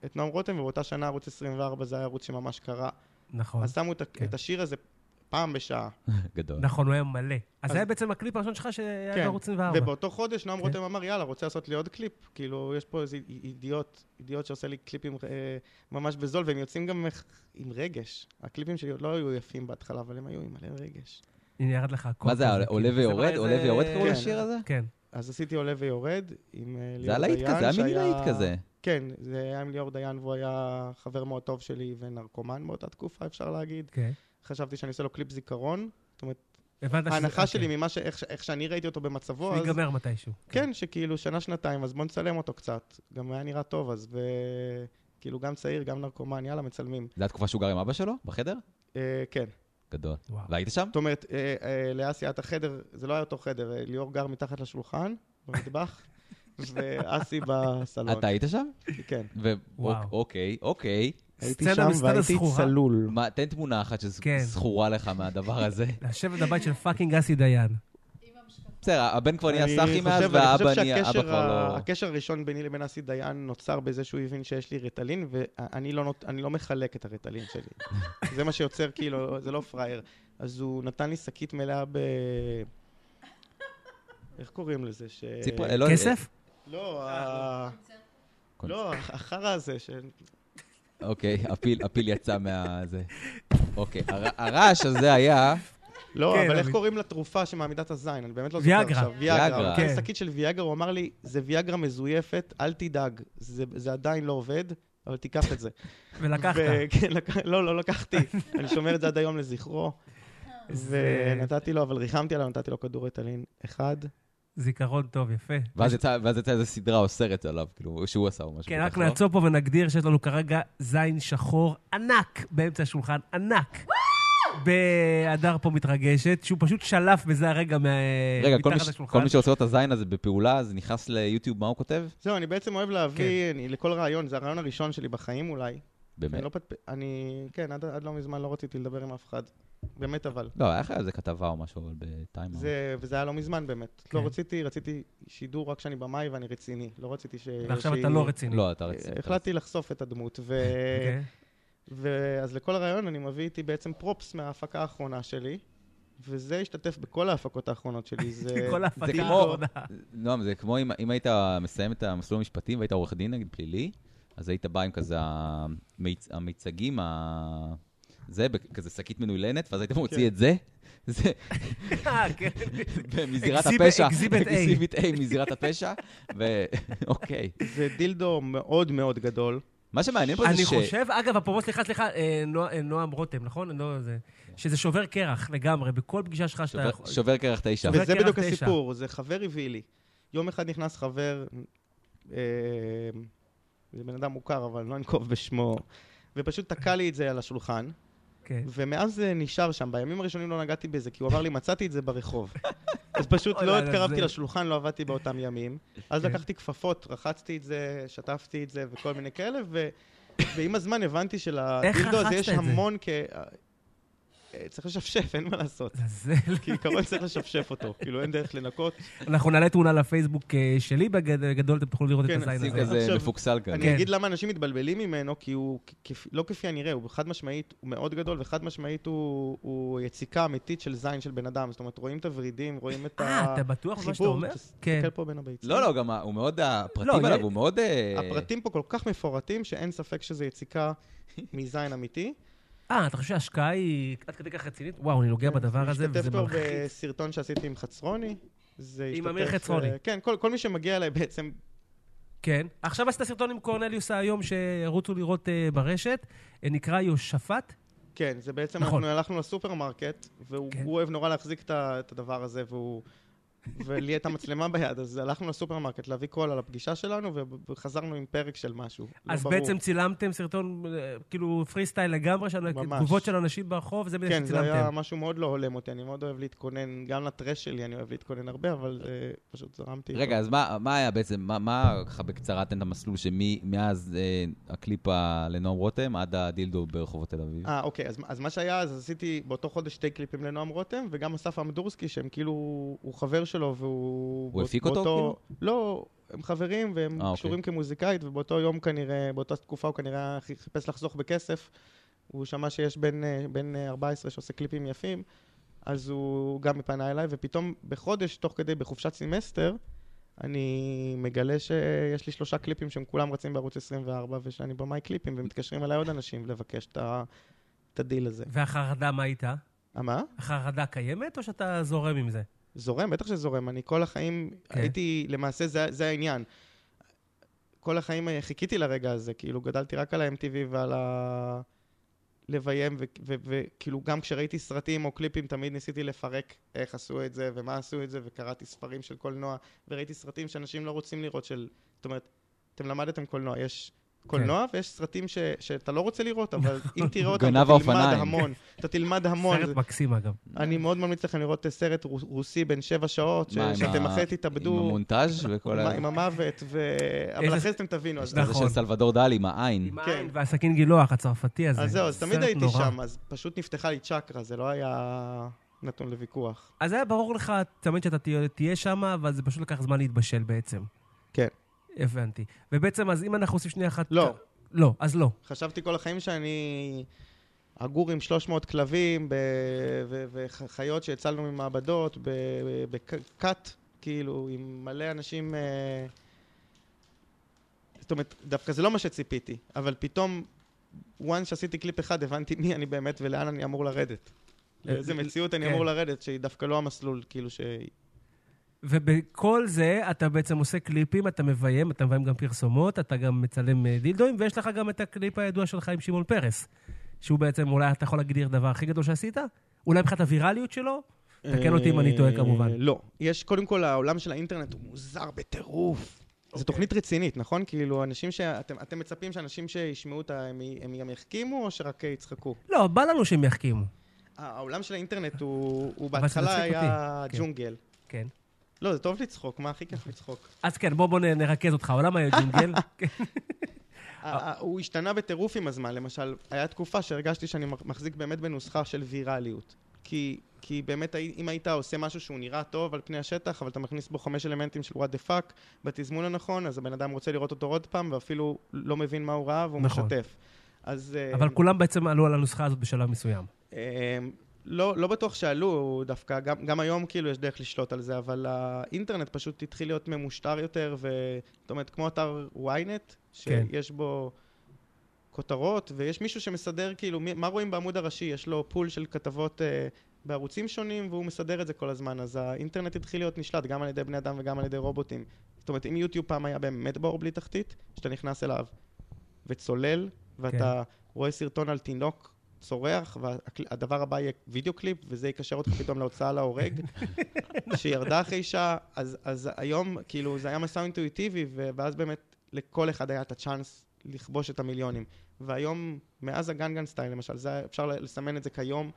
Speaker 3: את נועם רותם, ובאותה שנה ערוץ 24 זה היה ערוץ שממש קרה.
Speaker 2: נכון.
Speaker 3: אז שמו את,
Speaker 2: כן.
Speaker 3: כן. את השיר הזה פעם בשעה.
Speaker 1: גדול.
Speaker 2: נכון, הוא היה מלא. אז
Speaker 3: אז-
Speaker 2: זה היה בעצם הקליפ הראשון שלך שהיה
Speaker 3: כן.
Speaker 2: בערוץ 24.
Speaker 3: ובאותו חודש נועם
Speaker 2: כן.
Speaker 3: רותם אמר, יאללה, רוצה לעשות לי עוד קליפ? כאילו, יש פה איזה א- אידיוט, אידיוט שעושה לי קליפים אה, ממש בזול, והם יוצאים גם איך- עם רגש. הקליפים שלי עוד לא היו יפים בהתחלה, אבל הם היו עם מלא רגש.
Speaker 2: הנה, ירד לך הכל.
Speaker 1: מה זה,
Speaker 2: כזה,
Speaker 1: עולה
Speaker 2: כאילו,
Speaker 1: ויורד?
Speaker 2: זה-
Speaker 1: עולה ויורד
Speaker 2: זה-
Speaker 1: קראו
Speaker 3: כן.
Speaker 1: לשיר הזה?
Speaker 2: כן.
Speaker 3: אז עשיתי עולה ויורד עם אה, ליאור
Speaker 1: זה היה
Speaker 3: דיין.
Speaker 1: להיט כזה, זה היה מיני
Speaker 3: שהיה-
Speaker 1: להיט כזה.
Speaker 3: כן, זה היה עם ליאור דיין, והוא היה חבר מאוד טוב שלי ונרקומן באותה תקופה, אפשר להגיד.
Speaker 2: כן.
Speaker 3: חשבתי שאני עושה לו קליפ זיכרון.
Speaker 2: הבנת שזה...
Speaker 3: ההנחה
Speaker 2: אוקיי.
Speaker 3: שלי ממה ש... איך, ש- איך שאני ראיתי אותו במצבו,
Speaker 2: הוא
Speaker 3: אז...
Speaker 2: ייגמר מתישהו.
Speaker 3: כן, שכאילו שנה-שנתיים, אז בוא נצלם אותו קצת. גם היה נראה טוב, אז ו... כאילו גם צעיר, גם נרקומן, יאללה, מצלמים.
Speaker 1: זה התקופה שהוא גר עם אבא שלו? בחדר?
Speaker 3: אה, כן.
Speaker 1: גדול.
Speaker 2: וואו.
Speaker 1: והיית שם?
Speaker 3: זאת אומרת, אה, אה, לאסי היה את החדר, זה לא היה אותו חדר, אה, ליאור גר מתחת לשולחן, במטבח, ואסי בסלון.
Speaker 1: אתה היית שם?
Speaker 3: כן.
Speaker 1: ו-
Speaker 2: וואו.
Speaker 1: אוקיי, אוקיי.
Speaker 3: הייתי
Speaker 2: סצנה
Speaker 3: שם
Speaker 2: בסצנה
Speaker 3: והייתי
Speaker 2: זכורה.
Speaker 3: צלול.
Speaker 1: מה, תן תמונה אחת
Speaker 2: כן.
Speaker 1: שזכורה לך מהדבר הזה.
Speaker 2: לשבת בבית של פאקינג אסי דיין.
Speaker 4: עם המשקפיים.
Speaker 1: בסדר, הבן כבר נהיה
Speaker 3: אני
Speaker 1: סאחי מאז,
Speaker 3: חושב-
Speaker 1: והאבא
Speaker 3: אני
Speaker 1: נהיה,
Speaker 3: חושב
Speaker 1: אבא
Speaker 3: שהקשר
Speaker 1: כבר
Speaker 3: ה-
Speaker 1: לא...
Speaker 3: הקשר הראשון ביני לבין אסי דיין נוצר בזה שהוא הבין שיש לי ריטלין, ואני לא נות- אני לא מחלק את הריטלין שלי. זה מה שיוצר, כאילו, זה לא פראייר. אז הוא נתן לי שקית מלאה ב... איך קוראים לזה? ש...
Speaker 1: ציפר- אה, לא, אה,
Speaker 2: כסף?
Speaker 3: לא,
Speaker 2: אה,
Speaker 3: ה- לא, החרא הזה, ש...
Speaker 1: אוקיי, הפיל- הפיל יצא מה... זה. אוקיי, הר- הרעש הזה היה...
Speaker 3: לא,
Speaker 2: כן,
Speaker 3: אבל איך
Speaker 2: אבל-
Speaker 3: קוראים לתרופה שמעמידה את הזין? אני באמת לא זוכר
Speaker 2: ויאגרה.
Speaker 3: עכשיו.
Speaker 1: ויאגרה.
Speaker 3: ויאגרה. הוא
Speaker 2: כן.
Speaker 3: נתן שקית של ויאגרה, הוא אמר לי, זה ויאגרה מזויפת, אל תדאג, זה זה עדיין לא עובד, אבל תיקח את זה.
Speaker 1: אה,
Speaker 2: ולקחת.
Speaker 3: ו- כן, לק- לא, לא לקחתי. אני שומר את זה עד היום לזכרו.
Speaker 2: זה-
Speaker 3: ונתתי לו, אבל ריחמתי עליו, נתתי לו כדור ריטלין אחד.
Speaker 2: זיכרון טוב, יפה.
Speaker 1: ואז יצא ואז יצא איזה סדרה או סרט עליו, כאילו, שהוא עשה או משהו.
Speaker 2: כן,
Speaker 1: בטח,
Speaker 2: רק
Speaker 1: לא?
Speaker 2: נעצור פה ונגדיר שיש לנו כרגע זין שחור ענק באמצע השולחן, ענק. בהדר פה מתרגשת, שהוא פשוט שלף בזה הרגע מה-
Speaker 1: רגע, כל מי
Speaker 2: אה, מתחת
Speaker 1: ש-
Speaker 2: לשולחן.
Speaker 1: כל מי שרוצה לראות את הזין הזה בפעולה, אז נכנס ליוטיוב, מה הוא כותב?
Speaker 2: כן.
Speaker 3: זהו, אני בעצם אוהב להביא, אני- לכל רעיון, זה הרעיון הראשון שלי בחיים אולי.
Speaker 1: באמת.
Speaker 3: אני לא פטפ... אני... כן, עד, עד לא מזמן לא רציתי לדבר עם אף אחד. באמת אבל.
Speaker 1: לא, היה לך איזה כתבה או משהו, אבל בטיימר.
Speaker 3: זה, וזה היה לא מזמן באמת. לא
Speaker 2: כן.
Speaker 3: רציתי, רציתי שידור רק כשאני במאי ואני רציני. לא רציתי ש...
Speaker 2: ועכשיו
Speaker 3: שהיא-
Speaker 2: אתה לא רציני.
Speaker 1: לא, אתה רציני.
Speaker 3: אה, החלטתי לחשוף את הדמות, ו...
Speaker 2: אוקיי.
Speaker 3: ואז לכל הרעיון אני מביא איתי בעצם פרופס מההפקה האחרונה שלי, וזה השתתף בכל ההפקות האחרונות שלי. זה...
Speaker 2: כל
Speaker 1: זה
Speaker 2: ההפקה
Speaker 1: כמו-
Speaker 2: האחרונה.
Speaker 1: נועם, זה כמו אם, אם היית מסיים את המסלול המשפטי והיית עורך דין, נגיד פלילי, אז היית בא עם כזה המיצ... המיצגים, ה... זה, בכ- כזה שקית מנוילנת, ואז היית מוציא
Speaker 3: כן.
Speaker 1: את זה, זה,
Speaker 2: אה, כן.
Speaker 1: מזירת
Speaker 2: Exhibit-
Speaker 1: הפשע.
Speaker 2: Exhibit A.
Speaker 1: אקזיביט A מזירת הפשע, ואוקיי.
Speaker 3: זה דילדו מאוד מאוד גדול.
Speaker 1: מה שמעניין פה זה
Speaker 2: אני
Speaker 1: ש...
Speaker 2: חושב, אגב, אפרופו, סליחה, סליחה, אה, נוע- אה, נועם רותם, נכון? אני לא- זה- שזה שובר קרח לגמרי, בכל פגישה שלך שאתה...
Speaker 1: שובר- שובר קרח תשע.
Speaker 2: שובר-
Speaker 3: וזה
Speaker 2: קרח
Speaker 3: בדיוק
Speaker 2: תשע.
Speaker 3: הסיפור, זה חבר הביא לי. יום אחד נכנס חבר, אה, זה בן אדם מוכר, אבל לא אנקוב בשמו, ופשוט תקע לי את זה על השולחן,
Speaker 2: כן.
Speaker 3: ומאז זה נשאר שם. בימים הראשונים לא נגעתי בזה, כי הוא אמר לי, מצאתי את זה ברחוב. אז פשוט
Speaker 2: אוי,
Speaker 3: לא
Speaker 2: לילה,
Speaker 3: התקרבתי
Speaker 2: זה-
Speaker 3: לשולחן, לא עבדתי באותם ימים. אז
Speaker 2: כן.
Speaker 3: לקחתי כפפות, רחצתי את זה, שטפתי את זה וכל מיני כאלה, ו... ועם הזמן הבנתי שלדילדו הזה
Speaker 2: רחצת
Speaker 3: יש
Speaker 2: את זה?
Speaker 3: המון כ... אה, צריך לשפשף, אין מה לעשות.
Speaker 2: זה-
Speaker 3: כי עיקרון צריך לשפשף אותו, כאילו אין דרך לנקות.
Speaker 2: אנחנו נעלה תמונה לפייסבוק אה, שלי בגד- בגדול, אתם תוכלו לראות את
Speaker 3: כן,
Speaker 2: הזין
Speaker 1: השיג
Speaker 3: זה-
Speaker 2: הזה.
Speaker 1: כזה
Speaker 3: עכשיו,
Speaker 1: מפוקסל כאן.
Speaker 2: כן.
Speaker 3: אני אגיד למה אנשים מתבלבלים ממנו, כי הוא כ- כפ- לא כפי הנראה, הוא חד משמעית, הוא מאוד גדול, וחד משמעית הוא- הוא יציקה אמיתית של זין של בן אדם. זאת אומרת, רואים את הוורידים, רואים את
Speaker 2: אה, אתה בטוח במה שאתה אומר? כן.
Speaker 3: תסתכל פה בין הביצים.
Speaker 1: לא, לא, גם ה- הוא מאוד, הפרטים
Speaker 2: לא,
Speaker 1: עליו,
Speaker 2: זה-
Speaker 1: הוא מאוד... אה,
Speaker 3: הפרטים פה כל כך מפורטים, שאין ספק שזה יציקה מזין אמיתי.
Speaker 2: אה, אתה חושב שההשקעה היא עד כדי כך רצינית? וואו, אני נוגע בדבר הזה, וזה
Speaker 3: השתתף כן, פה
Speaker 2: מלחיץ.
Speaker 3: בסרטון שעשיתי עם חצרוני. זה
Speaker 2: עם
Speaker 3: השתתף,
Speaker 2: אמיר חצרוני.
Speaker 3: אה, כן, כל כל מי שמגיע אליי בעצם,
Speaker 2: כן. עכשיו עשית סרטון עם קורנליוס היום, שרוצו לראות אה, ברשת, אה, נקרא יושפט.
Speaker 3: כן, זה בעצם,
Speaker 2: נכון.
Speaker 3: אנחנו הלכנו לסופרמרקט, והוא
Speaker 2: כן.
Speaker 3: הוא אוהב נורא להחזיק את ה- את הדבר הזה, והוא... ולי הייתה מצלמה ביד, אז הלכנו לסופרמרקט להביא קול על הפגישה שלנו, ו- וחזרנו עם פרק של משהו. לא
Speaker 2: אז
Speaker 3: ברור.
Speaker 2: בעצם צילמתם סרטון, אה, כאילו, פרי סטייל לגמרי, של
Speaker 3: ממש.
Speaker 2: תגובות של אנשים ברחוב, זה בדיוק
Speaker 3: כן, זה
Speaker 2: שצילמתם.
Speaker 3: היה משהו מאוד לא הולם אותי, אני מאוד אוהב להתכונן, גם לטרש שלי אני אוהב להתכונן הרבה, אבל אה, פשוט זרמתי.
Speaker 1: רגע, אז מה מה היה בעצם, מה- מה ככה בקצרה תן את המסלול שמאז הקליפ ה- לנועם רותם עד הדילדו ברחובות תל אביב?
Speaker 3: אה, אוקיי, אז, אז מה שהיה, אז עשיתי באותו חודש שתי קליפים לנועם רותם, וגם אסף עמדורסקי, שהם כאילו, הוא חבר שלו, והוא...
Speaker 1: הוא
Speaker 3: בא-
Speaker 1: הפיק אותו, כאילו?
Speaker 3: לא, הם חברים, והם
Speaker 1: אה, אוקיי.
Speaker 3: קשורים כמוזיקאית, ובאותו יום כנראה, באותה תקופה הוא כנראה חי- חיפש לחסוך בכסף. הוא שמע שיש בן, אה, בן אה, 14 שעושה קליפים יפים, אז הוא גם פנה אליי, ופתאום בחודש, תוך כדי, בחופשת סמסטר, אני מגלה שיש לי שלושה קליפים שהם כולם רצים בערוץ 24, ושאני במאי קליפים, ומתקשרים אליי עוד אנשים לבקש את ה- את הדיל הזה.
Speaker 2: והחרדה, מה הייתה?
Speaker 3: אה, מה?
Speaker 2: החרדה קיימת, או שאתה זורם עם זה?
Speaker 3: זורם, בטח שזורם. אני כל החיים
Speaker 2: כן.
Speaker 3: הייתי, למעשה זה, זה העניין. כל החיים אה, חיכיתי לרגע הזה, כאילו גדלתי רק על ה-MTV ועל ה... לביים, וכאילו כאילו, גם כשראיתי סרטים או קליפים, תמיד ניסיתי לפרק איך עשו את זה ומה עשו את זה, וקראתי ספרים של קולנוע, וראיתי סרטים שאנשים לא רוצים לראות של... זאת אומרת, אתם למדתם קולנוע, יש קולנוע ויש סרטים ש, שאתה לא רוצה לראות, אבל אם תראה אותם,
Speaker 1: גנב
Speaker 3: אתה תלמד
Speaker 1: האופניים.
Speaker 3: המון. אתה תלמד המון.
Speaker 2: סרט
Speaker 3: זה-
Speaker 2: מקסים, אגב.
Speaker 3: אני מאוד ממליץ לכם לראות סרט רו- רוסי בן שבע שעות, ש-
Speaker 1: Mm. מה, עם
Speaker 3: שאתם
Speaker 1: ה-
Speaker 3: אחרי
Speaker 1: עם
Speaker 3: תתאבדו,
Speaker 1: המונטאז' וכל
Speaker 3: עם
Speaker 1: ה...
Speaker 3: ה- עם המוות, ו... אבל
Speaker 2: איזה-
Speaker 3: אחרי זה אתם תבינו. אז-
Speaker 2: נכון.
Speaker 1: זה של סלבדור דלי עם העין.
Speaker 2: עם
Speaker 3: כן.
Speaker 2: העין והסכין גילוח הצרפתי הזה.
Speaker 3: אז זהו, אז תמיד
Speaker 2: סרט
Speaker 3: הייתי
Speaker 2: נורא.
Speaker 3: שם, אז פשוט נפתחה לי צ'קרה, זה לא היה נתון לוויכוח.
Speaker 2: אז היה ברור לך תמיד שאתה תהיה- תהיה שם, אבל זה פשוט לקח זמן להתבשל בעצם.
Speaker 3: כן.
Speaker 2: הבנתי. ובעצם, אז אם אנחנו עושים שנייה אחת...
Speaker 3: לא.
Speaker 2: לא, אז לא.
Speaker 3: חשבתי כל החיים שאני אגור עם 300 כלבים ב- ו- וחיות שהצלנו ממעבדות, ב- ב- בכת, כאילו, עם מלא אנשים... אה, זאת אומרת, דווקא זה לא מה שציפיתי, אבל פתאום, once שעשיתי קליפ אחד, הבנתי מי אני באמת ולאן אני אמור לרדת. לאיזה מציאות אני
Speaker 2: כן.
Speaker 3: אמור לרדת, שהיא דווקא לא המסלול, כאילו, ש...
Speaker 2: ובכל זה אתה בעצם עושה קליפים, אתה מביים, אתה מביים גם פרסומות, אתה גם מצלם אה, דילדואים, ויש לך גם את הקליפ הידוע שלך עם שמעון פרס, שהוא בעצם, אולי אתה יכול להגדיר דבר הכי גדול שעשית? אולי מבחינת הווירליות שלו? תקן אותי אם אני טועה,
Speaker 3: אה,
Speaker 2: כמובן.
Speaker 3: לא. יש, קודם כל, העולם של האינטרנט הוא מוזר בטירוף. זו תוכנית רצינית, נכון? כאילו, אנשים ש... אתם אתם מצפים שאנשים שישמעו אותה, הם י- הם גם יחכימו או שרק אה, יצחקו?
Speaker 2: לא, בא לנו שהם יחכימו.
Speaker 3: הע- העולם של האינטרנט הוא הוא
Speaker 2: אבל זה
Speaker 3: בהתחלה
Speaker 2: מצחיק
Speaker 3: היה
Speaker 2: אותי. כן.
Speaker 3: ג'ונגל.
Speaker 2: כן.
Speaker 3: לא, זה טוב לצחוק, מה הכי כיף לצחוק?
Speaker 2: אז כן, בוא, בוא נ- נרכז אותך. העולם היה ג'ינגל. כן.
Speaker 3: ה- ה- הוא השתנה בטירוף עם הזמן, למשל, היה תקופה שהרגשתי שאני מח- מחזיק באמת בנוסחה של ויראליות. כי, כי באמת, הי- אם היית עושה משהו שהוא נראה טוב על פני השטח, אבל אתה מכניס בו חמש אלמנטים של what the fuck בתזמון הנכון, אז הבן אדם רוצה לראות אותו עוד פעם, ואפילו לא מבין מה הוא ראה, והוא
Speaker 2: נכון.
Speaker 3: משתף. אז... אה,
Speaker 2: אבל כולם בעצם עלו על הנוסחה הזאת בשלב מסוים.
Speaker 3: אמ, לא, לא בטוח שעלו דווקא, גם, גם היום כאילו יש דרך לשלוט על זה, אבל האינטרנט פשוט התחיל להיות ממושטר יותר, ו- זאת אומרת, כמו אתר ynet,
Speaker 2: כן.
Speaker 3: שיש בו כותרות, ויש מישהו שמסדר כאילו, מי, מה רואים בעמוד הראשי, יש לו פול של כתבות אה, בערוצים שונים, והוא מסדר את זה כל הזמן, אז האינטרנט התחיל להיות נשלט גם על ידי בני אדם וגם על ידי רובוטים. זאת אומרת, אם יוטיוב פעם היה באמת בור בלי תחתית, שאתה נכנס אליו וצולל, ואתה כן. רואה סרטון על תינוק צורח, והדבר הבא יהיה וידאו קליפ, וזה יקשר אותך פתאום להוצאה להורג, שירדה אחרי שעה, אז, אז היום, כאילו, זה היה מסע אינטואיטיבי, ו- ואז באמת לכל אחד היה את הצ'אנס לכבוש את המיליונים. והיום, מאז הגנגן סטייל למשל, זה, אפשר לסמן את זה כיום,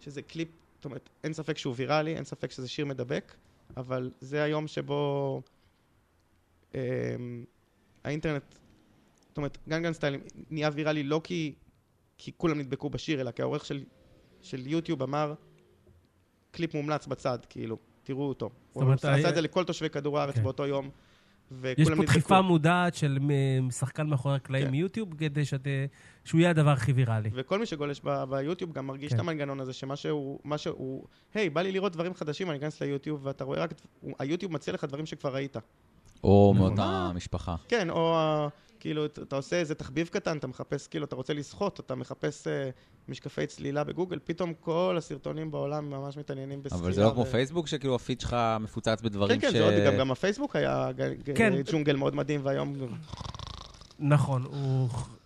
Speaker 3: שזה קליפ, זאת אומרת, אין ספק שהוא ויראלי, אין ספק שזה שיר מדבק, אבל זה היום שבו אה, האינטרנט, זאת אומרת, גנגן סטייל נהיה ויראלי לא כי, כי כולם נדבקו בשיר, אלא כי העורך של, של יוטיוב אמר, קליפ מומלץ בצד, כאילו, תראו אותו. הוא
Speaker 2: אומרת,
Speaker 3: עשה
Speaker 2: ה-
Speaker 3: את זה לכל תושבי כדור הארץ
Speaker 2: כן.
Speaker 3: באותו יום,
Speaker 2: יש
Speaker 3: וכולם
Speaker 2: פה
Speaker 3: נדבקו.
Speaker 2: דחיפה מודעת של מ- שחקן מאחורי הקלעים
Speaker 3: כן.
Speaker 2: מיוטיוב, כדי שאת- אה, שהוא יהיה הדבר הכי ויראלי.
Speaker 3: וכל מי שגולש ב- ביוטיוב גם מרגיש
Speaker 2: כן.
Speaker 3: את המנגנון הזה, שמה שהוא, מה שהוא, היי, בא לי לראות דברים חדשים, אני אכנס ליוטיוב, ואתה רואה רק, הוא- היוטיוב מציע לך דברים שכבר ראית.
Speaker 1: או
Speaker 2: נכון.
Speaker 1: מאותה משפחה.
Speaker 3: כן, או אה, כאילו, אתה- אתה עושה איזה תחביב קטן, אתה מחפש, כאילו, אתה רוצה לשחות, אתה מחפש אה, משקפי צלילה בגוגל, פתאום כל הסרטונים בעולם ממש מתעניינים בסקילה.
Speaker 1: אבל זה לא כמו
Speaker 3: ו-
Speaker 1: פייסבוק, שכאילו הפיד שלך מפוצץ בדברים
Speaker 3: כן,
Speaker 1: ש...
Speaker 3: כן, זה עוד, גם, גם הפייסבוק היה ג- ג- אה,
Speaker 2: כן.
Speaker 3: ג'ונגל מאוד מדהים, והיום
Speaker 2: נכון, הוא ח-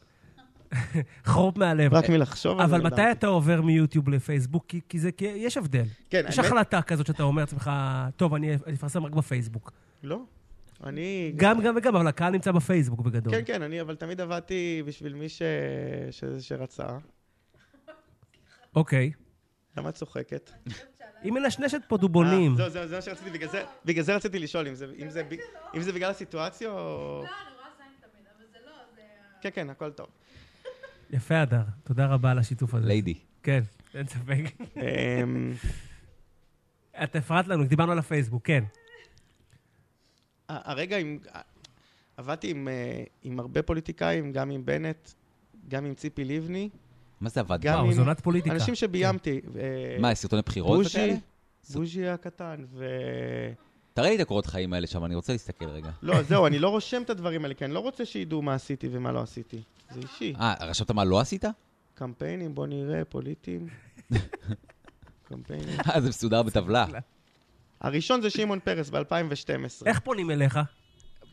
Speaker 2: חרופ מהלב.
Speaker 3: רק לא מלחשוב על זה.
Speaker 2: אה, אבל
Speaker 3: נדהמתי.
Speaker 2: מתי אתה עובר מיוטיוב לפייסבוק? כי- כי זה, כי יש הבדל.
Speaker 3: כן,
Speaker 2: יש
Speaker 3: האמת-
Speaker 2: החלטה כזאת שאתה אומר לעצמך, טוב, אני אני אפרסם רק בפייסבוק.
Speaker 3: לא. אני...
Speaker 2: גם, גם וגם, אבל הקהל נמצא בפייסבוק בגדול.
Speaker 3: כן, כן, אני אבל תמיד עבדתי בשביל מי ש... ש... שרצה.
Speaker 2: אוקיי.
Speaker 3: למה את צוחקת?
Speaker 2: היא מנשנשת פה דובונים.
Speaker 3: אה, זהו, זהו, זה מה שרציתי, בגלל זה- בגלל זה רציתי לשאול, אם זה- אם זה ב- אם זה בגלל הסיטואציה או...
Speaker 4: לא, אני רואה זין תמיד, אבל זה לא, זה... ה-
Speaker 3: כן, כן, הכל טוב.
Speaker 2: יפה, הדר. תודה רבה על השיתוף הזה.
Speaker 1: ליידי.
Speaker 2: כן, אין ספק.
Speaker 3: אמ,
Speaker 2: את הפרעת לנו, דיברנו על הפייסבוק, כן.
Speaker 3: ה- הרגע עם... עבדתי עם, אה, עם הרבה פוליטיקאים, גם עם בנט, גם עם ציפי לבני.
Speaker 1: מה זה עבד?
Speaker 3: גם
Speaker 1: כבר?
Speaker 2: וואו,
Speaker 3: אם-
Speaker 2: זונת פוליטיקה. כן.
Speaker 3: אנשים שביימתי. אה,
Speaker 1: מה, סרטוני בחירות
Speaker 3: בוז'י,
Speaker 1: וכאלה?
Speaker 3: בוז'י הקטן, ו...
Speaker 1: תראה לי את הקורות חיים האלה שם, אני רוצה להסתכל רגע.
Speaker 3: לא, זהו, אני לא רושם את הדברים האלה, כי אני לא רוצה שידעו מה עשיתי ומה לא עשיתי. זה אישי.
Speaker 1: אה, רשמת מה לא עשית?
Speaker 3: קמפיינים, בוא נראה, פוליטיים. קמפיינים.
Speaker 1: אה, זה מסודר בטבלה.
Speaker 3: הראשון זה שמעון פרס ב-2012.
Speaker 2: איך פונים אליך?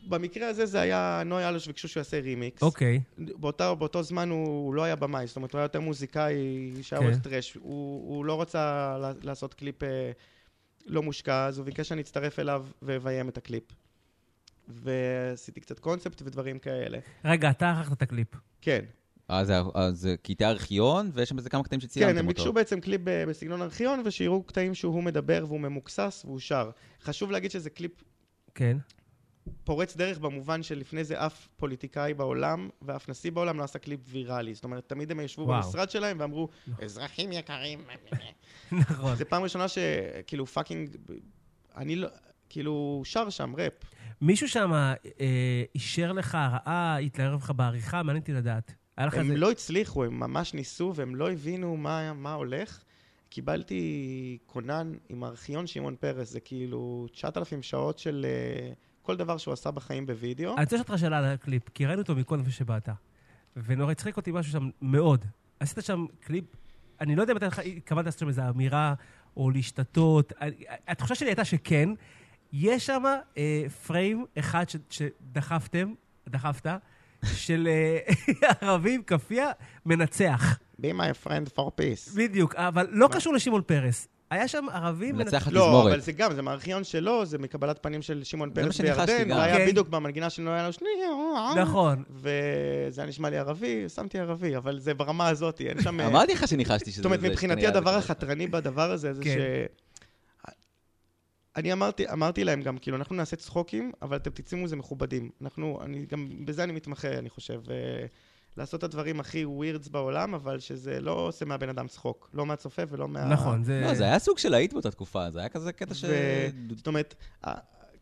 Speaker 3: במקרה הזה זה היה נוי אלוש ביקשו שהוא יעשה רימיקס.
Speaker 2: אוקיי.
Speaker 3: באותה, באותו זמן הוא, הוא לא היה במאי, זאת אומרת, הוא היה יותר מוזיקאי שהיה
Speaker 2: כן.
Speaker 3: עוד טרש. הוא, הוא לא רצה לע- לעשות קליפ אה, לא מושקע, אז הוא ביקש שאני אצטרף אליו ואביים את הקליפ. ועשיתי קצת קונספט ודברים כאלה.
Speaker 2: רגע, אתה ערכת את הקליפ.
Speaker 3: כן.
Speaker 1: אה, זה- אה, זה קטעי ארכיון, ויש שם איזה כמה קטעים שצילמתם
Speaker 3: כן,
Speaker 1: אותו.
Speaker 3: הם ביקשו בעצם קליפ ב- בסגנון ארכיון, ושיראו קטעים שהוא מדבר והוא ממוקסס והוא שר. חשוב להגיד שזה קליפ
Speaker 2: כן.
Speaker 3: פורץ דרך במובן שלפני זה אף פוליטיקאי בעולם ואף נשיא בעולם לא עשה קליפ ויראלי. זאת אומרת, תמיד הם ישבו
Speaker 2: וואו.
Speaker 3: במשרד שלהם ואמרו, אזרחים יקרים.
Speaker 2: נכון.
Speaker 3: זו פעם ראשונה שכאילו פאקינג, אני לא, כאילו, שר שם ראפ.
Speaker 2: מישהו שם אה, אישר לך, ראה, התלהב לך בעריכה, מעניין אותי לדעת. היה לך איזה...
Speaker 3: הם לא הצליחו, הם ממש ניסו והם לא הבינו מה, מה הולך. קיבלתי כונן עם ארכיון שמעון פרס, זה כאילו 9,000 שעות של אה, כל דבר שהוא עשה בחיים בווידאו.
Speaker 2: אני רוצה לשאול אותך שאלה על הקליפ, כי ראינו אותו מכל לפני שבאת. ונורא הצחיק אותי משהו שם מאוד. עשית שם קליפ, אני לא יודע אם אתה התכוונת לעשות שם איזו אמירה, או להשתתות. אני- התחושה שלי הייתה שכן. יש שם אה, פריים אחד ש, שדחפתם, דחפת, של אה, ערבים, כאפיה, מנצח.
Speaker 3: Be my friend for peace.
Speaker 2: בדיוק, אבל לא
Speaker 3: מה?
Speaker 2: קשור לשמעון פרס. היה שם ערבים
Speaker 1: מנצח
Speaker 3: לא,
Speaker 1: התזמורת.
Speaker 3: אבל זה גם, זה מהארכיון שלו, זה מקבלת פנים של שמעון
Speaker 1: זה מה
Speaker 3: פרס
Speaker 1: שאני חשתי
Speaker 3: בירדן,
Speaker 1: גם.
Speaker 3: הוא
Speaker 2: כן.
Speaker 3: היה בדיוק במנגינה שלו, היה לו שני...
Speaker 2: נכון.
Speaker 3: וזה היה נשמע לי ערבי, שמתי ערבי, אבל זה ברמה הזאת, אין שם... אה,
Speaker 1: אמרתי לך שניחשתי שזה...
Speaker 3: זאת אומרת,
Speaker 1: זה
Speaker 3: מבחינתי
Speaker 1: כנראה-
Speaker 3: הדבר החתרני בדבר הזה, זה
Speaker 2: כן.
Speaker 3: ש... אני אמרתי, אמרתי להם גם, כאילו, אנחנו נעשה צחוקים, אבל אתם תצאו מזה מכובדים. אנחנו, אני גם, בזה אני מתמחה, אני חושב. אה, לעשות את הדברים הכי ווירדס בעולם, אבל שזה לא עושה מהבן אדם צחוק. לא מהצופה ולא מה...
Speaker 2: נכון, זה...
Speaker 1: לא, זה היה סוג של להיט באותה תקופה, זה היה כזה קטע ש...
Speaker 3: ו- זאת אומרת, אה,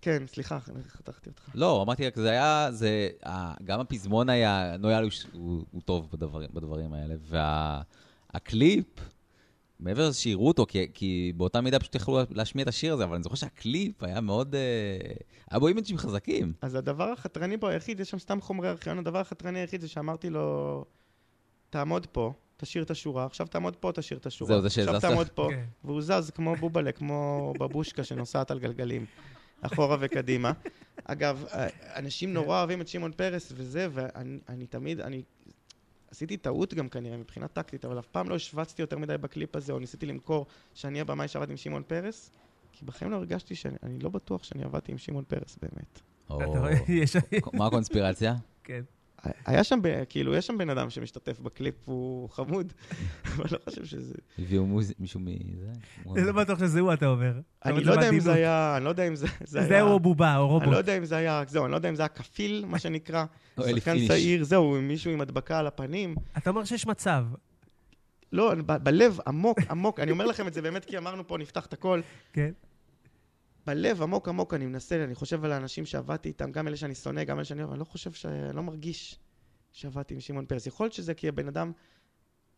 Speaker 3: כן, סליחה, חתכתי אותך.
Speaker 1: לא, אמרתי רק, זה היה, זה, אה, גם הפזמון היה, נויאל הוא, ש- הוא, הוא טוב בדברים, בדברים האלה, והקליפ, מעבר לזה שיראו אותו, כי, כי באותה מידה פשוט יכלו להשמיע את השיר הזה, אבל אני זוכר שהקליפ היה מאוד, אה, היה בו אימג'ים חזקים.
Speaker 3: אז הדבר החתרני פה היחיד, יש שם סתם חומרי ארכיון, הדבר החתרני היחיד זה שאמרתי לו, תעמוד פה, תשאיר את השורה, עכשיו תעמוד פה, תשאיר את השורה.
Speaker 1: זהו, זה
Speaker 3: עכשיו
Speaker 1: שהזזת.
Speaker 3: תעמוד פה,
Speaker 2: כן.
Speaker 3: והוא זז כמו בובלה, כמו בבושקה שנוסעת על גלגלים, אחורה וקדימה. אגב, אנשים נורא אוהבים את שמעון פרס וזה, ואני אני תמיד, אני עשיתי טעות גם כנראה מבחינה טקטית, אבל אף פעם לא השווצתי יותר מדי בקליפ הזה, או ניסיתי למכור שאני הבמאי שעבד עם שמעון פרס, כי בחיים לא הרגשתי שאני, אני לא בטוח שאני עבדתי עם שמעון פרס באמת.
Speaker 1: או,
Speaker 2: אתה רואה, יש...
Speaker 1: מה הקונספירציה?
Speaker 2: כן.
Speaker 3: היה שם, ב- כאילו, יש שם בן אדם שמשתתף בקליפ, הוא חמוד, אבל לא חושב שזה...
Speaker 1: הביאו מוז- מישהו מזה?
Speaker 2: אני לא בטוח שזה הוא, אתה אומר. אתה אומר,
Speaker 3: אני לא יודע אם זה
Speaker 2: בעדינות.
Speaker 3: היה... אני לא יודע אם זה זה
Speaker 2: זה
Speaker 3: היה...
Speaker 2: הוא בובה או
Speaker 3: אני לא
Speaker 2: רובוט.
Speaker 3: יודע אם זה היה... זהו, אני לא יודע אם זה היה כפיל, מה שנקרא.
Speaker 1: או אלי
Speaker 3: שחקן
Speaker 1: פיניש.
Speaker 3: צעיר, זהו, עם מישהו עם הדבקה על הפנים.
Speaker 2: אתה אומר שיש מצב.
Speaker 3: לא, אני ב- בלב עמוק, עמוק, אני אומר לכם את זה באמת, כי אמרנו פה, נפתח את הכל.
Speaker 2: כן.
Speaker 3: בלב עמוק עמוק אני מנסה, אני חושב על האנשים שעבדתי איתם, גם אלה שאני שונא, גם אלה שאני אוהב, אני לא חושב ש... אני לא מרגיש שעבדתי עם שמעון פרס. יכול להיות שזה כי הבן אדם...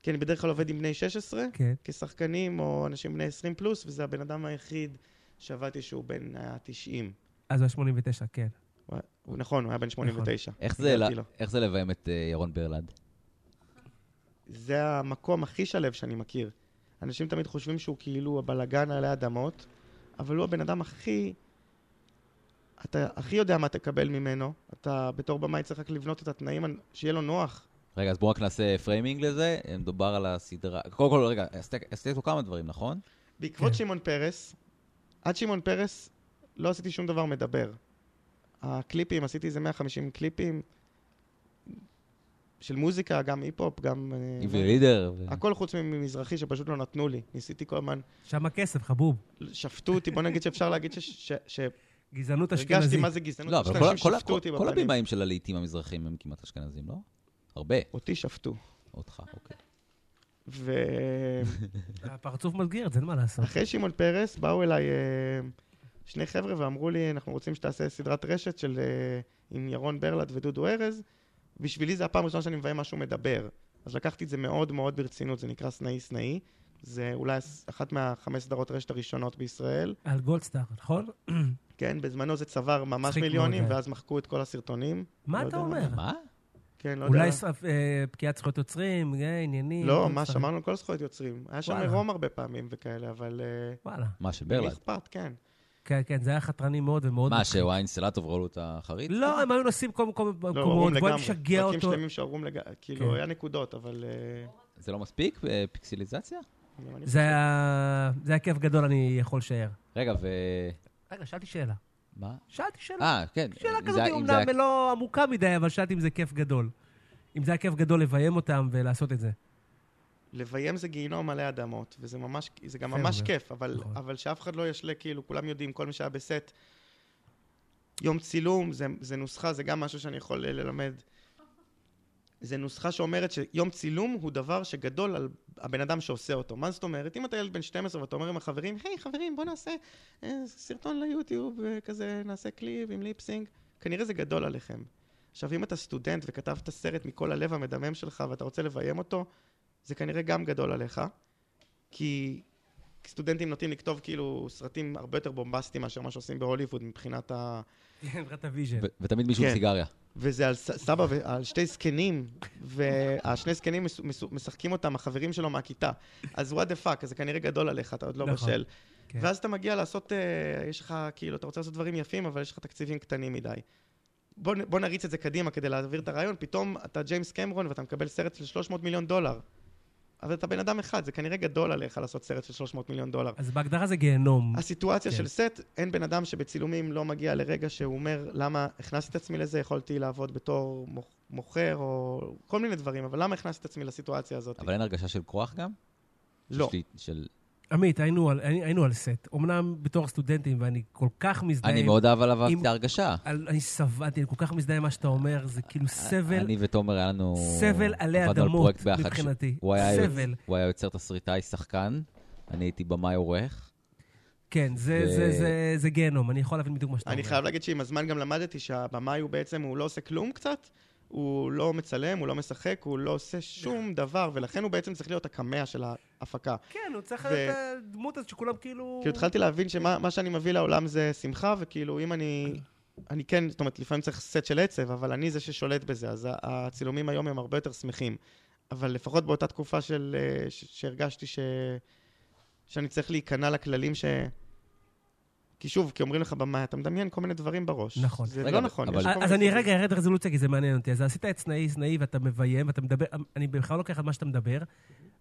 Speaker 3: כי אני בדרך כלל עובד עם בני 16,
Speaker 2: כן.
Speaker 3: כשחקנים או אנשים בני 20 פלוס, וזה הבן אדם היחיד שעבדתי שהוא בן אה, 90.
Speaker 2: אז הוא היה 89, כן.
Speaker 3: הוא היה- הוא נכון, הוא היה בן 89.
Speaker 1: איך זה
Speaker 3: הגעתי
Speaker 1: ל-
Speaker 3: לו.
Speaker 1: איך זה לביים את אה, ירון ברלנד?
Speaker 3: זה המקום הכי שלו שאני מכיר. אנשים תמיד חושבים שהוא כאילו הבלגן עלי אדמות, אבל הוא הבן אדם הכי... אתה הכי יודע מה תקבל ממנו. אתה בתור במאי צריך רק לבנות את התנאים הנ- שיהיה לו נוח.
Speaker 1: רגע, אז בואו רק נעשה פריימינג לזה. מדובר על הסדרה... קודם כל, רגע, עשית- עשית לו כמה דברים, נכון?
Speaker 3: בעקבות
Speaker 2: כן.
Speaker 3: שמעון פרס, עד שמעון פרס לא עשיתי שום דבר מדבר. הקליפים, עשיתי איזה 150 קליפים של מוזיקה, גם היפ-הופ, גם... אה,
Speaker 1: עברי לידר. ו-
Speaker 3: הכל חוץ ממזרחי שפשוט לא נתנו לי. ניסיתי כל הזמן,
Speaker 2: שם הכסף, חבוב.
Speaker 3: שפטו אותי, בוא נגיד שאפשר להגיד ש- ש-
Speaker 2: גזענות
Speaker 3: שהרגשתי
Speaker 2: אשכנזית.
Speaker 3: מה זה גזענות,
Speaker 1: לא,
Speaker 3: פשוט
Speaker 1: אבל כל-
Speaker 3: אנשים
Speaker 1: כל-
Speaker 3: שפטו אותי
Speaker 1: כל- כל
Speaker 3: בפנים.
Speaker 1: הבמאים של הלהיטים המזרחים הם כמעט אשכנזים, לא? הרבה.
Speaker 3: אותי שפטו.
Speaker 1: אותך, אוקיי.
Speaker 3: ואחרי
Speaker 2: הפרצוף מסגיר את זה, אין מה לעשות.
Speaker 3: שמעון פרס באו אליי אה, שני חבר'ה ואמרו לי, אנחנו רוצים שתעשה סדרת רשת של... אה, עם ירון ברלד ודודו ארז. בשבילי זה הפעם הראשונה שאני מביים משהו מדבר. אז לקחתי את זה מאוד מאוד ברצינות, זה נקרא סנאי סנאי. זה אולי אחת מהחמש סדרות רשת הראשונות בישראל.
Speaker 2: על גולדסטאר, נכון?
Speaker 3: כן, בזמנו זה צבר ממש
Speaker 2: מצחיק
Speaker 3: מיליונים,
Speaker 2: מאוד, אה.
Speaker 3: ואז מחקו את כל הסרטונים.
Speaker 2: מה
Speaker 3: לא
Speaker 2: אתה
Speaker 3: יודע
Speaker 2: אומר?
Speaker 1: מה?
Speaker 3: כן, לא יודע.
Speaker 2: אולי ס- אה, פקיעת זכויות יוצרים, אה, עניינים.
Speaker 3: לא,
Speaker 2: גולדסטאר.
Speaker 3: מה, שמרנו על כל זכויות יוצרים. היה שם
Speaker 2: וואלה.
Speaker 3: עירום הרבה פעמים וכאלה, אבל... אה,
Speaker 2: וואלה.
Speaker 1: מה, של
Speaker 3: למי
Speaker 1: ברלנד?
Speaker 3: אכפת, כן.
Speaker 2: כן, כן, זה היה חתרני מאוד ומאוד...
Speaker 1: מה, שוויינסלטוב ראו לו את החריץ?
Speaker 2: לא, הם היו נוסעים כל מקום
Speaker 3: לא, עירום
Speaker 2: במקומות, בוא
Speaker 3: לגמרי.
Speaker 2: נשגע
Speaker 3: פרקים
Speaker 2: אותו.
Speaker 3: שלמים שעירום לגמרי. כאילו,
Speaker 2: כן.
Speaker 3: היה נקודות, אבל... אה,
Speaker 1: זה לא מספיק? אה, פיקסליזציה?
Speaker 3: גם אני
Speaker 2: זה היה- זה היה כיף גדול, אני יכול לשער.
Speaker 1: רגע, ו...
Speaker 2: רגע, שאלתי שאלה.
Speaker 1: מה?
Speaker 2: שאלתי שאלה.
Speaker 1: אה, כן.
Speaker 2: שאלה
Speaker 1: אם זה-
Speaker 2: כזאת,
Speaker 1: אם זה היה-
Speaker 2: אומנם לא עמוקה מדי, אבל שאלתי אם זה כיף גדול. אם זה היה כיף גדול לביים אותם ולעשות את זה.
Speaker 3: לביים זה גיהינום מלא אדמות, וזה ממש, זה גם
Speaker 2: יפה,
Speaker 3: ממש
Speaker 2: אומר.
Speaker 3: כיף, אבל,
Speaker 2: נכון.
Speaker 3: אבל שאף אחד לא ישלה, כאילו, כולם יודעים, כל מי שהיה בסט. יום צילום, זה, זה נוסחה, זה גם משהו שאני יכול אה, ללמד. זה נוסחה שאומרת שיום צילום הוא דבר שגדול על הבן אדם שעושה אותו. מה זאת אומרת? אם אתה ילד בן 12 ואתה אומר עם החברים, היי חברים, בוא נעשה אה, סרטון ליוטיוב, אה, כזה נעשה קליפ עם ליפסינג, כנראה זה גדול עליכם. עכשיו, אם אתה סטודנט וכתבת סרט מכל הלב המדמם שלך ואתה רוצה לביים אותו, זה כנראה גם גדול עליך, כי סטודנטים נוטים לכתוב כאילו סרטים הרבה יותר בומבסטיים מאשר מה שעושים בהוליווד מבחינת ה...
Speaker 2: חברת הוויז'ן.
Speaker 1: ו- ותמיד מישהו עם
Speaker 3: כן.
Speaker 1: סיגריה.
Speaker 3: וזה על ס- סבא ועל שתי זקנים, והשני זקנים מס- מס- משחקים אותם החברים שלו מהכיתה. אז what the fuck, אז זה כנראה גדול עליך, אתה עוד לא
Speaker 2: נכון,
Speaker 3: בשל.
Speaker 2: כן.
Speaker 3: ואז אתה מגיע לעשות, אה, יש לך, כאילו, אתה רוצה לעשות דברים יפים, אבל יש לך תקציבים קטנים מדי. בוא, נ- בוא נריץ את זה קדימה כדי להעביר את הרעיון, פתאום אתה ג'יימס קמרון ואתה מקבל סרט של 300 מיליון דולר. אבל אתה בן אדם אחד, זה כנראה גדול עליך לעשות סרט של 300 מיליון דולר.
Speaker 2: אז בהגדרה זה גיהנום.
Speaker 3: הסיטואציה
Speaker 2: כן.
Speaker 3: של סט, אין בן אדם שבצילומים לא מגיע לרגע שהוא אומר, למה הכנסתי את עצמי לזה, יכולתי לעבוד בתור מוכ- מוכר או כל מיני דברים, אבל למה הכנסתי את עצמי לסיטואציה הזאת?
Speaker 1: אבל אין הרגשה של כוח גם?
Speaker 3: לא.
Speaker 1: של- של...
Speaker 2: עמית, היינו על- היינו על סט. אמנם בתור סטודנטים, ואני כל כך מזדהה...
Speaker 1: אני
Speaker 2: עם-
Speaker 1: מאוד אבל עברתי
Speaker 2: אם-
Speaker 1: את ההרגשה.
Speaker 2: על- אני סבלתי, אני כל כך מזדהה עם מה שאתה אומר, זה כאילו סבל,
Speaker 1: אה, אני ותומר היה לנו...
Speaker 2: סבל עלי
Speaker 1: עבדנו על
Speaker 2: אדמות
Speaker 1: פרויקט ביחד ש-
Speaker 2: מבחינתי.
Speaker 1: הוא היה יוצ-
Speaker 2: סבל.
Speaker 1: הוא היה יוצר תסריטאי שחקן, אני הייתי במאי עורך.
Speaker 2: כן, זה-
Speaker 1: ו-
Speaker 2: זה- זה- זה גיהנום, אני יכול להבין בדיוק מה שאתה אומר.
Speaker 3: אני חייב להגיד שעם הזמן גם למדתי שהבמאי הוא בעצם, הוא לא עושה כלום קצת, הוא לא מצלם, הוא לא משחק, הוא לא עושה שום דבר, ולכן הוא בעצם צריך להיות הקמע של ההפקה.
Speaker 2: כן, הוא צריך
Speaker 3: ו-
Speaker 2: להיות הדמות הזאת שכולם כאילו...
Speaker 3: כאילו התחלתי להבין שמה מה שאני מביא לעולם זה שמחה, וכאילו אם אני... אני כן, זאת אומרת, לפעמים צריך סט של עצב, אבל אני זה ששולט בזה, אז ה- הצילומים היום הם הרבה יותר שמחים. אבל לפחות באותה תקופה של... אה, ש- שהרגשתי ש... שאני צריך להיכנע לכללים ש... כי שוב, כי אומרים לך במה, אתה מדמיין כל מיני דברים בראש.
Speaker 2: נכון.
Speaker 3: זה
Speaker 1: רגע,
Speaker 3: לא
Speaker 1: אבל-
Speaker 3: נכון. יש
Speaker 1: אבל-
Speaker 3: כל מיני
Speaker 2: אז אני
Speaker 3: סיפורים.
Speaker 2: רגע ארד רזולוציה, כי זה מעניין אותי. אז עשית את סנאי, סנאי, ואתה מביים, ואתה מדבר, אני בכלל לוקח על מה שאתה מדבר,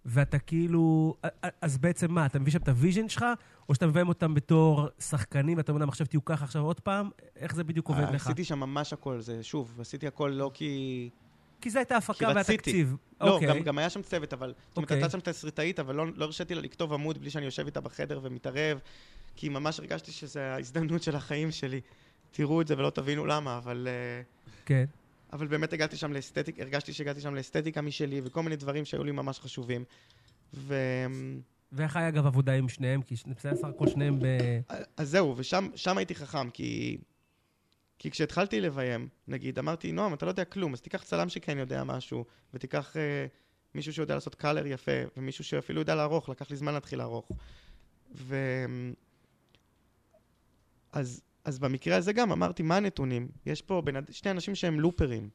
Speaker 2: ואתה כאילו... אז בעצם מה, אתה מביא שם את הוויז'ן שלך, או שאתה מביים אותם בתור שחקנים, ואתה אומר להם, עכשיו תהיו ככה, עכשיו עוד פעם? איך זה בדיוק עובד לך?
Speaker 3: אה, עשיתי שם ממש הכל, זה שוב, עשיתי הכל לא כי...
Speaker 2: כי זו הייתה
Speaker 3: כי
Speaker 2: ההפקה
Speaker 3: רציתי.
Speaker 2: והתקציב.
Speaker 3: לא,
Speaker 2: אוקיי.
Speaker 3: גם, גם היה שם צוות, אבל... זאת אומרת,
Speaker 2: אוקיי.
Speaker 3: הייתה שם תסריטאית, אבל לא, לא הרשיתי לה לכתוב עמוד בלי שאני יושב איתה בחדר ומתערב, כי ממש הרגשתי שזו ההזדמנות של החיים שלי. תראו את זה ולא תבינו למה, אבל... אה,
Speaker 2: כן.
Speaker 3: אבל באמת הגעתי שם לאסתטיקה, הרגשתי שהגעתי שם לאסתטיקה משלי, וכל מיני דברים שהיו לי ממש חשובים. ו...
Speaker 2: ואיך היה אגב עבודה עם שניהם? כי זה בסך הכל שניהם ב...
Speaker 3: אז זהו, ושם שם הייתי חכם, כי... כי כשהתחלתי לביים, נגיד, אמרתי, נועם, אתה לא יודע כלום, אז תיקח צלם שכן יודע משהו, ותיקח אה, מישהו שיודע לעשות קלר יפה, ומישהו שאפילו יודע לערוך, לקח לי זמן להתחיל לערוך. ו... אז, אז במקרה הזה גם אמרתי, מה הנתונים? יש פה בין, שני אנשים שהם לופרים.